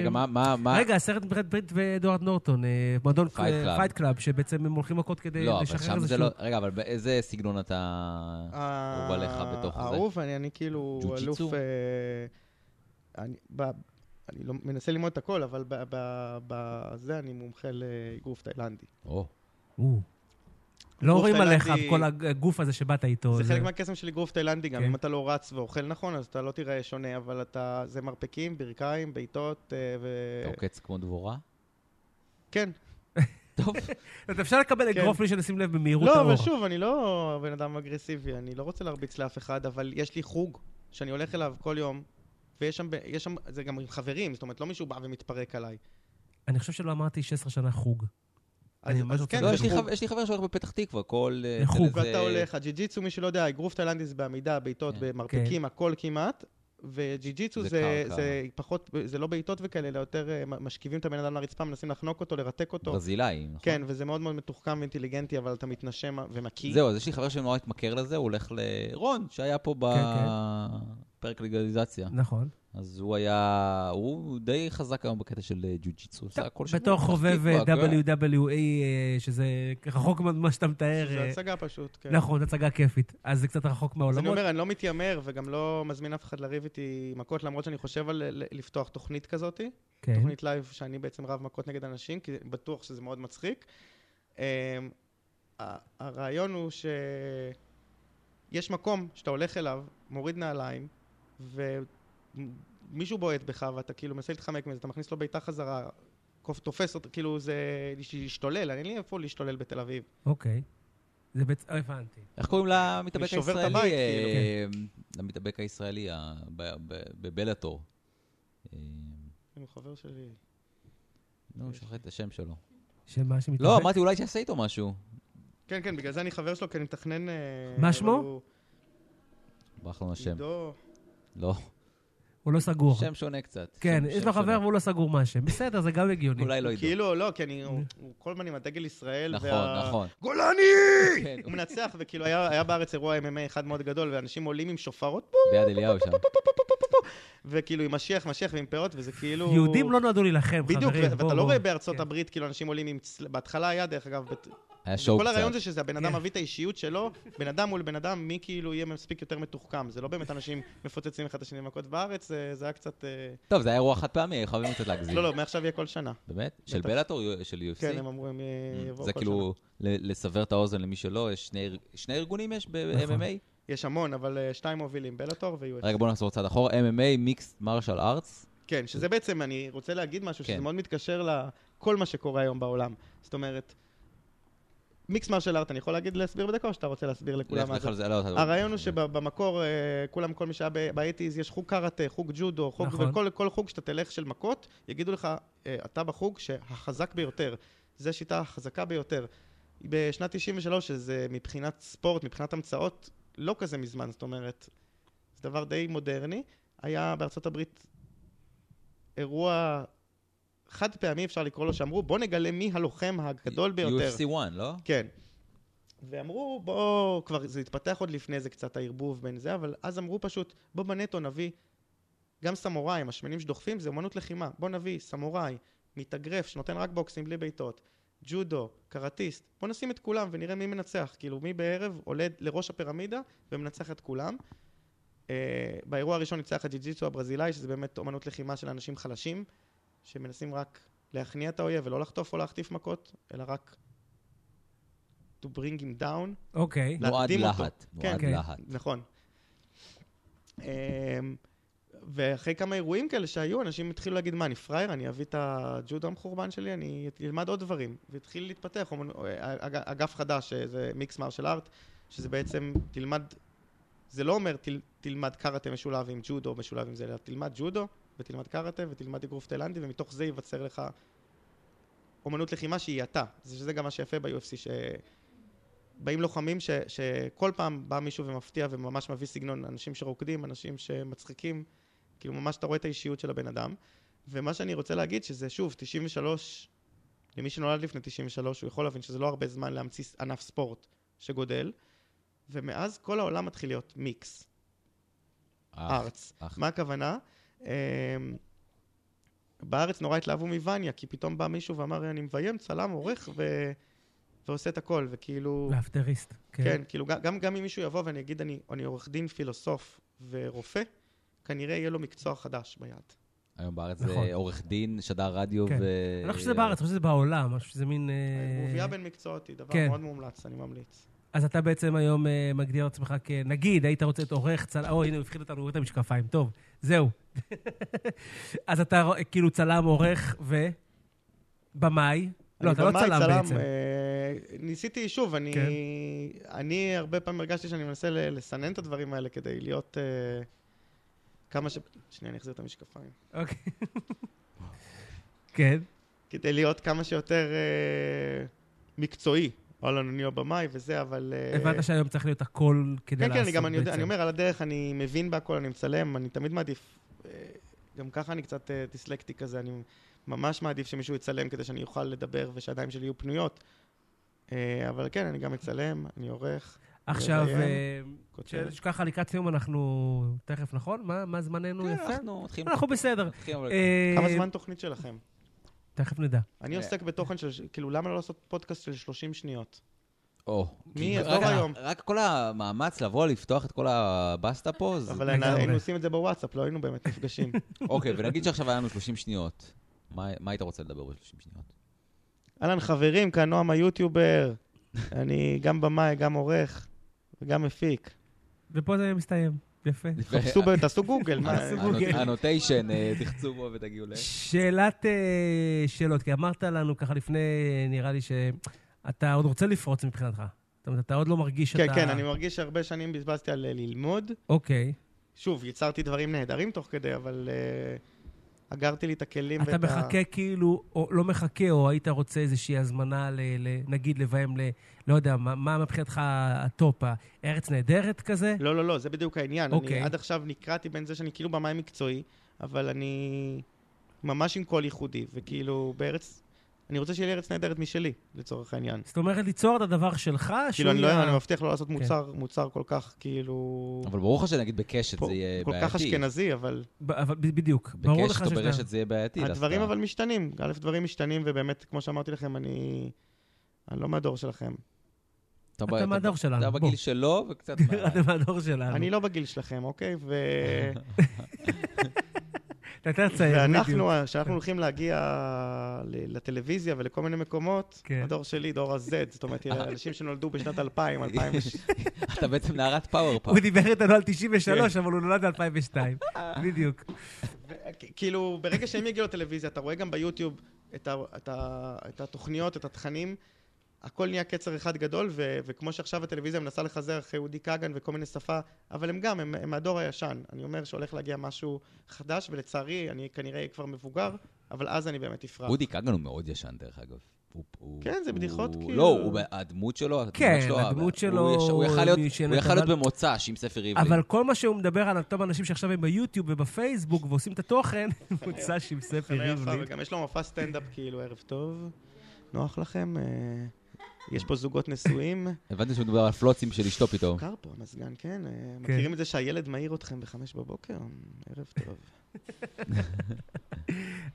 Speaker 1: רגע, מה- מה... מה-
Speaker 2: רגע, הסרט ברד פיט ואדוארד נורטון, אה, מועדון
Speaker 1: Fight Club.
Speaker 2: פייט קלאב, שבעצם הם הולכים מכות כדי
Speaker 1: לא, אבל
Speaker 2: לשחרר
Speaker 1: שם
Speaker 2: איזה
Speaker 1: זה
Speaker 2: שהוא...
Speaker 1: לא... רגע, אבל באיזה סגנון אתה... נכון.
Speaker 3: אה,
Speaker 1: הוא בא לך בתוך זה.
Speaker 3: האהוב, אני, אני כאילו אלוף...
Speaker 1: ג'ו-ג'יצו?
Speaker 3: אה, אני, ב, אני לא, מנסה ללמוד את הכל, אבל ב- ב- בזה אני מומחה לאגרוף תאילנדי.
Speaker 1: או,
Speaker 3: אה.
Speaker 2: או. לא
Speaker 3: גוף
Speaker 2: רואים עליך
Speaker 3: תאילנדי-
Speaker 2: כל הגוף הזה שבאת איתו.
Speaker 3: זה חלק מהקסם של אגרוף תאילנדי גם,
Speaker 2: כן.
Speaker 3: אם אתה לא רץ ואוכל נכון, אז אתה לא תיראה שונה, אבל אתה... זה מרפקים, ברכיים, בעיטות, אה, ו...
Speaker 1: אתה
Speaker 2: אוקיי.
Speaker 1: עוקץ כמו דבורה?
Speaker 3: כן.
Speaker 1: טוב,
Speaker 2: אז אפשר לקבל
Speaker 3: כן.
Speaker 2: אגרוף בלי שנשים לב במהירות
Speaker 3: לא,
Speaker 2: האור.
Speaker 3: אבל שוב, אני לא בן אדם אגרסיבי, אני לא רוצה להרביץ לאף אחד, אבל יש לי חוג שאני הולך אליו כל יום, ויש שם, ב- יש שם, זה גם עם חברים, זאת אומרת, לא מישהו בא ומתפרק עליי.
Speaker 2: אני חושב שלא אמרתי 16 שנה חוג.
Speaker 3: אז,
Speaker 2: אני ממש
Speaker 3: אז
Speaker 2: רוצה
Speaker 3: כן,
Speaker 1: לא,
Speaker 2: זה
Speaker 1: יש לי
Speaker 3: חוג.
Speaker 1: חבר- יש לי חבר שהולך בפתח תקווה, כל... אה,
Speaker 2: לחוג.
Speaker 1: אצל איזה-
Speaker 3: ואתה הולך, הג'י-ג'יצו, מי שלא יודע, אגרוף תאילנדי זה בעמידה, בעיטות,
Speaker 1: כן.
Speaker 3: במרפקים, הכל כמעט, וג'י-ג'יצו
Speaker 1: זה
Speaker 3: זה
Speaker 1: קרקע.
Speaker 3: זה פחות, זה לא בעיטות וכאלה, אלא יותר אה, מ- משכיבים את הבן אדם לרצפה, מנסים לחנוק אותו, לרתק אותו.
Speaker 1: ברזילאי, נכון?
Speaker 3: כן, וזה מאוד מאוד מתוחכם ואינטליגנטי, אבל אתה מתנשם ומקיא.
Speaker 1: זהו, אז יש לי חבר שנורא התמכר לזה, הוא הולך לרון, שהיה פה
Speaker 2: כן,
Speaker 1: בפרק לגליזציה.
Speaker 2: נכון.
Speaker 1: אז הוא היה, הוא די חזק היום בקטע של אה, ג'ו-ג'יצו, עושה הכל שבוע.
Speaker 2: בתור
Speaker 1: פתח
Speaker 2: חובב אה,
Speaker 1: תקווה, כן.
Speaker 2: WWE, אה, שזה רחוק ממה שאתה מתאר.
Speaker 3: זה
Speaker 2: אה,
Speaker 3: הצגה פשוט, כן.
Speaker 2: נכון, הצגה כיפית. אז זה קצת רחוק
Speaker 3: אז אני
Speaker 2: מהעולמות.
Speaker 3: אומר, אני לא מתיימר וגם לא מזמין אף אחד לריב איתי מכות, למרות שאני חושב על ל- לפתוח תוכנית כזאת,
Speaker 2: כן.
Speaker 3: תוכנית לייב שאני בעצם רב מכות נגד אנשים, כי בטוח שזה מאוד מצחיק. אמ, ה- הרעיון הוא שיש מקום שאתה הולך אליו, מוריד נעליים, ומישהו בועט בך ואתה כאילו מנסה להתחמק מזה, אתה מכניס לו בעיטה חזרה, קוף- תופס אותו, כאילו זה להשתולל, אין לי איפה להשתולל בתל אביב.
Speaker 2: אוקיי. זה בעצם... אה, הבנתי.
Speaker 1: איך קוראים למתאבק
Speaker 3: אני שובר את
Speaker 1: הישראלי?
Speaker 3: הבית, כאילו.
Speaker 1: אה, למתאבק הישראלי ה- ב- ב- בבלאטור. אה,
Speaker 3: עם חבר שלי.
Speaker 1: נו, שכחתי את השם שלו.
Speaker 2: שמה שמתאבק?
Speaker 1: לא, אמרתי אולי שיעשה איתו משהו.
Speaker 3: כן, כן, בגלל זה אני חבר שלו, כי אני מתכנן... אה,
Speaker 2: מה
Speaker 3: אבל
Speaker 2: שמו?
Speaker 3: הוא-
Speaker 1: ברח לנו השם.
Speaker 3: עידו,
Speaker 1: לא,
Speaker 2: הוא לא סגור.
Speaker 1: שם שונה קצת.
Speaker 2: כן,
Speaker 1: שם-
Speaker 2: יש
Speaker 1: שם
Speaker 2: לו
Speaker 1: שונה.
Speaker 2: חבר והוא לא סגור מה השם. בסדר, זה גם הגיוני.
Speaker 1: אולי לא עידו.
Speaker 3: כאילו, לא, כי אני, הוא הוא כל הזמן עם הדגל ישראל.
Speaker 1: נכון,
Speaker 3: וה-
Speaker 1: נכון.
Speaker 3: גולני!
Speaker 1: כן,
Speaker 3: הוא מנצח, וכאילו היה היה בארץ אירוע MMA אחד מאוד גדול, ואנשים עולים עם שופרות, בום,
Speaker 1: ביד אליהו שם.
Speaker 3: וכאילו עם משיח, משיח ועם פאות, וזה כאילו...
Speaker 2: יהודים לא נועדו להילחם, חברים.
Speaker 3: בדיוק, ו-
Speaker 2: בואו,
Speaker 3: ואתה לא
Speaker 2: בואו.
Speaker 3: רואה בארצות
Speaker 2: כן.
Speaker 3: הברית, כאילו, אנשים עולים עם... צל- בהתחלה היה, דרך אגב, בת-
Speaker 1: היה שואו
Speaker 3: כל
Speaker 1: קצת.
Speaker 3: הרעיון זה שזה הבן אדם
Speaker 2: כן.
Speaker 3: מביא את האישיות שלו, בן אדם מול בן אדם, מי כאילו יהיה מספיק יותר מתוחכם. זה לא באמת אנשים מפוצצים אחד את השני במכות בארץ, זה זה היה קצת... אה,
Speaker 1: טוב, זה היה אירוע חד פעמי, חייבים קצת להגזים.
Speaker 3: לא, לא, מעכשיו יהיה כל שנה.
Speaker 1: באמת? של
Speaker 3: בטח.
Speaker 1: בלאטור, של UFC?
Speaker 3: כן, הם אמרו, הם אה, יבואו כל
Speaker 1: זה
Speaker 3: שנה.
Speaker 1: כאילו, ל- לסבר את האוזן למי שלא, יש שני אר- שני ארגונים יש
Speaker 2: נכון.
Speaker 1: ב-MMA?
Speaker 3: יש המון, אבל אה, שתיים מובילים, בלאטור ו-UFC.
Speaker 1: רגע, בוא נחזור צעד אחורה. MMA, מיקס מרשל ארטס.
Speaker 3: כן, שזה בעצם, אני רוצה להגיד משהו, שזה
Speaker 1: כן.
Speaker 3: מאוד מתקשר לכל מה שקורה היום בעולם. זאת אומרת, מיקס מרשל ארט, אני יכול להגיד להסביר בדקה, או שאתה רוצה להסביר לכולם
Speaker 1: לך
Speaker 3: מה
Speaker 1: לך
Speaker 3: זה?
Speaker 1: על זה, לא, אתה-
Speaker 3: הרעיון הוא שבמקור, אה, כולם, כל מי שהיה באייטיז, יש חוג קארטה, חוג ג'ודו, חוג,
Speaker 2: נכון.
Speaker 3: וכל כל חוג שאתה תלך של מכות, יגידו לך, אה, אתה בחוג שהחזק ביותר. זו שיטה החזקה ביותר. בשנת 93, שזה מבחינת ספורט, מבחינת המצאות, לא כזה מזמן, זאת אומרת, זה דבר די מודרני. היה בארצות הברית אירוע חד פעמי, אפשר לקרוא לו, שאמרו, בוא נגלה מי הלוחם הגדול ביותר.
Speaker 1: UFC 1, לא?
Speaker 3: כן. ואמרו, בוא, כבר זה התפתח עוד לפני זה קצת הערבוב בין זה, אבל אז אמרו פשוט, בוא בנטו נביא גם סמוראים, השמנים שדוחפים זה אומנות לחימה, בוא נביא סמוראי, מתאגרף, שנותן רק בוקסים בלי בעיטות, ג'ודו, קראטיסט, בוא נשים את כולם ונראה מי מנצח, כאילו מי בערב עולה לראש הפירמידה ומנצח את כולם. Uh, באירוע הראשון ניצח הג'יג'יצו הברזילאי, שזה באמת אומנות לחימה של אנשים חלשים, שמנסים רק להכניע את האויב ולא לחטוף או להחטיף מכות, אלא רק to bring him down.
Speaker 2: אוקיי.
Speaker 3: לה-
Speaker 1: מועד
Speaker 3: להקדים אותו.
Speaker 1: להט.
Speaker 3: כן,
Speaker 1: מועד
Speaker 2: כן.
Speaker 1: להט.
Speaker 3: נכון. אמ, ואחרי כמה אירועים כאלה שהיו, אנשים התחילו להגיד, מה, אני פראייר? אני אביא את הג'ודו המחורבן שלי? אני אלמד עוד דברים. והתחיל להתפתח אומנ- אג- אגף חדש, שזה מיקס מרשל ארט, שזה בעצם תלמד, זה לא אומר תל, תלמד קראטה משולב עם ג'ודו או משולב עם זה, אלא תלמד ג'ודו ותלמד קראטה ותלמד אגרוף תאילנדי, ומתוך זה ייווצר לך אומנות לחימה שהיא אתה. זה- שזה גם מה שיפה ב-UFC, ש... באים לוחמים ש, שכל פעם בא מישהו ומפתיע וממש מביא סגנון, אנשים שרוקדים, אנשים שמצחיקים, כאילו ממש אתה רואה את האישיות של הבן אדם. ומה שאני רוצה להגיד שזה שוב, 93, למי שנולד לפני 93, הוא יכול להבין שזה לא הרבה זמן להמציא ענף ספורט שגודל, ומאז כל העולם מתחיל להיות מיקס.
Speaker 1: אה,
Speaker 3: ארץ.
Speaker 1: אך.
Speaker 3: מה הכוונה? אמ, בארץ נורא התלהבו מווניה, כי פתאום בא מישהו ואמר, אני מביים, צלם, עורך, ו... ועושה את הכל, וכאילו...
Speaker 2: לאפטריסט.
Speaker 3: לא. כן, כאילו, גם- גם, גם אם מישהו יבוא ואני אגיד, אני, אני עורך דין, פילוסוף ורופא, כנראה יהיה לו מקצוע חדש ביד.
Speaker 1: היום בארץ
Speaker 2: נכון.
Speaker 1: זה עורך דין, שדר רדיו
Speaker 2: כן.
Speaker 1: ו...
Speaker 2: אני לא חושב שזה בארץ, אני חושב שזה בעולם, אני חושב שזה מין... אה,
Speaker 3: ערבוביה בין מקצועות היא דבר
Speaker 2: כן.
Speaker 3: מאוד מומלץ, אני ממליץ.
Speaker 2: אז אתה בעצם היום אה, מגדיר את עצמך כ... נגיד, היית רוצה את עורך צלם... או, הנה, הוא הפחיד אותנו, הוא את המשקפיים. טוב, זהו. אז אתה רוא- כאילו צלם, עורך ו... במאי. לא,
Speaker 3: אני
Speaker 2: אתה לא
Speaker 3: במאי,
Speaker 2: צלם בעצם.
Speaker 3: אה, ניסיתי, שוב, אני,
Speaker 2: כן.
Speaker 3: אני הרבה פעמים הרגשתי שאני מנסה ל- לסנן את הדברים האלה כדי להיות אה, כמה ש... שנייה, אני אחזיר את המשקפיים.
Speaker 2: אוקיי. כן,
Speaker 3: כדי להיות כמה שיותר אה, מקצועי. אהלן, אני הבמאי וזה, אבל... אה,
Speaker 2: הבנת שהיום צריך להיות הכל כדי
Speaker 3: כן,
Speaker 2: לעשות בעצם.
Speaker 3: כן, אני גם, אני יודע, אני אומר, על הדרך אני מבין בהכל, אני מצלם, אני תמיד מעדיף, אה, גם ככה אני קצת אה, דיסלקטי כזה, אני ממש מעדיף שמישהו יצלם כדי שאני אוכל לדבר ושהידיים שלי יהיו פנויות. אה, אבל כן, אני גם מצלם, אני עורך,
Speaker 2: עכשיו,
Speaker 3: מראיין,
Speaker 2: אה,
Speaker 3: כותב.
Speaker 2: שככה לקראת סיום אנחנו... תכף, נכון? מה- מה זמננו
Speaker 1: כן,
Speaker 2: יפה?
Speaker 1: אנחנו מתחילים...
Speaker 2: אנחנו בסדר.
Speaker 1: מתחילים, אבל-
Speaker 2: אה,
Speaker 3: כמה זמן תוכנית שלכם?
Speaker 2: תכף נדע.
Speaker 3: אני
Speaker 1: אה.
Speaker 3: עוסק בתוכן של, כאילו, למה לא לעשות פודקאסט של 30 שניות?
Speaker 1: או.
Speaker 3: מי
Speaker 1: רק-
Speaker 3: יעזוב
Speaker 1: רק-
Speaker 3: היום?
Speaker 1: רק כל המאמץ לבוא, לפתוח את כל הבסטה פה, זה...
Speaker 3: אבל היינו-
Speaker 2: לגמרי.
Speaker 3: היינו עושים את זה בוואטסאפ, לא היינו באמת נפגשים.
Speaker 1: אוקיי, ונגיד שעכשיו היה לנו 30 שניות. מה מה היית רוצה לדבר ב-30 שניות?
Speaker 3: אהלן, חברים, כאן נועם היוטיובר. אני גם במאי, גם עורך וגם מפיק.
Speaker 2: ופה זה מסתיים. יפה.
Speaker 3: חפשו, ב- תעשו גוגל, מה...
Speaker 2: גוגל.
Speaker 1: הנוטיישן, תחצו בו אה, ותגיעו ל...
Speaker 2: שאלת אה, שאלות, כי אמרת לנו ככה לפני, אה, נראה לי שאתה עוד רוצה לפרוץ מבחינתך. זאת אומרת, אתה עוד לא מרגיש שאתה...
Speaker 3: כן, כן, אני מרגיש שהרבה שנים בזבזתי על אה, ללמוד.
Speaker 2: אוקיי.
Speaker 3: שוב, יצרתי דברים נהדרים תוך כדי, אבל אה, אגרתי לי את הכלים
Speaker 2: אתה
Speaker 3: ואת ה-
Speaker 2: מחכה כאילו, או לא מחכה, או היית רוצה איזושהי הזמנה, ל, ל, נגיד, לביים ל... לא יודע, מה, מה מבחינתך הטופ? ארץ נהדרת כזה?
Speaker 3: לא, לא, לא, זה בדיוק העניין. אני
Speaker 2: אוקיי.
Speaker 3: עד עכשיו נקרעתי בין זה שאני כאילו במים מקצועי, אבל אני ממש עם קול ייחודי, וכאילו בארץ... אני רוצה שיהיה לי ארץ נהדרת משלי, לצורך העניין.
Speaker 2: זאת אומרת, ליצור את הדבר שלך, שהוא
Speaker 3: כאילו, אני
Speaker 2: יהיה-
Speaker 3: לא, אני מבטיח לא לעשות
Speaker 2: כן.
Speaker 3: מוצר, מוצר כל כך, כאילו...
Speaker 1: אבל ברור לך שנגיד בקשת
Speaker 3: פה-
Speaker 1: זה יהיה
Speaker 3: כל
Speaker 1: בעייתי.
Speaker 3: כך אשכנזי, אבל...
Speaker 2: ב- אבל ב- בדיוק. ברור
Speaker 1: בקשת
Speaker 2: לך
Speaker 1: או
Speaker 2: שיש להם.
Speaker 1: ברשת זה יהיה בעייתי. דווקא.
Speaker 3: הדברים אבל משתנים. א', דברים משתנים, ובאמת, כמו שאמרתי לכם, אני... אני לא מהדור שלכם.
Speaker 1: ב-
Speaker 2: אתה מהדור שלנו,
Speaker 1: אתה
Speaker 2: בוא.
Speaker 1: בגיל שלו וקצת... מעליי.
Speaker 2: אתה מהדור שלנו.
Speaker 3: אני לא בגיל שלכם, אוקיי? ו...
Speaker 2: אתה יותר צעיר, בדיוק.
Speaker 3: ואנחנו, כשאנחנו הולכים להגיע ל- לטלוויזיה ולכל מיני מקומות,
Speaker 2: כן.
Speaker 3: הדור שלי, דור ה-Z, זאת אומרת, אנשים שנולדו בשנת 2000, 2006,
Speaker 1: אתה בעצם נערת פאוורפאפ.
Speaker 2: הוא דיבר איתנו על
Speaker 3: כן.
Speaker 2: 93, אבל הוא נולד ב-2002. בדיוק.
Speaker 3: כאילו, ברגע שהם יגיעו לטלוויזיה, אתה רואה גם ביוטיוב את, ה, את, ה, את התוכניות, את התכנים, הכל נהיה קצר אחד גדול, ו, וכמו שעכשיו הטלוויזיה מנסה לחזר אחרי אודי כגן וכל מיני שפה, אבל הם גם, הם, הם מהדור הישן. אני אומר שהולך להגיע משהו חדש, ולצערי, אני כנראה אהיה כבר מבוגר, אבל אז אני באמת אפרח.
Speaker 1: אודי כגן הוא מאוד ישן, דרך אגב. הוא- הוא-
Speaker 3: כן, זה
Speaker 1: הוא-
Speaker 3: בדיחות
Speaker 1: לא,
Speaker 3: כאילו-
Speaker 1: הוא- הדמות שלו, התמונה
Speaker 2: כן,
Speaker 1: שלו,
Speaker 2: הדמות
Speaker 1: הוא
Speaker 2: שלו
Speaker 1: יש- הוא יכל להיות-
Speaker 2: נשענת,
Speaker 1: הוא יכל להיות
Speaker 2: אבל-
Speaker 1: במוצ"ש עם ספר ריבלין.
Speaker 2: אבל כל מה שהוא מדבר על אותם אנשים שעכשיו הם ביוטיוב ובפייסבוק ועושים את התוכן, מוצא עם ספי
Speaker 3: חוויה יפה,
Speaker 2: ריבלין.
Speaker 3: וגם יש לו מופע סטנדאפ כאילו, ערב טוב. נוח לכם? אה, יש פה זוגות נשואים?
Speaker 1: הבנתי שמדובר על פלוצים של אשתו פתאום.
Speaker 3: קר פה המזגן, כן? אה, מכירים את זה שהילד מעיר אתכם בחמש בבוקר? ערב טוב.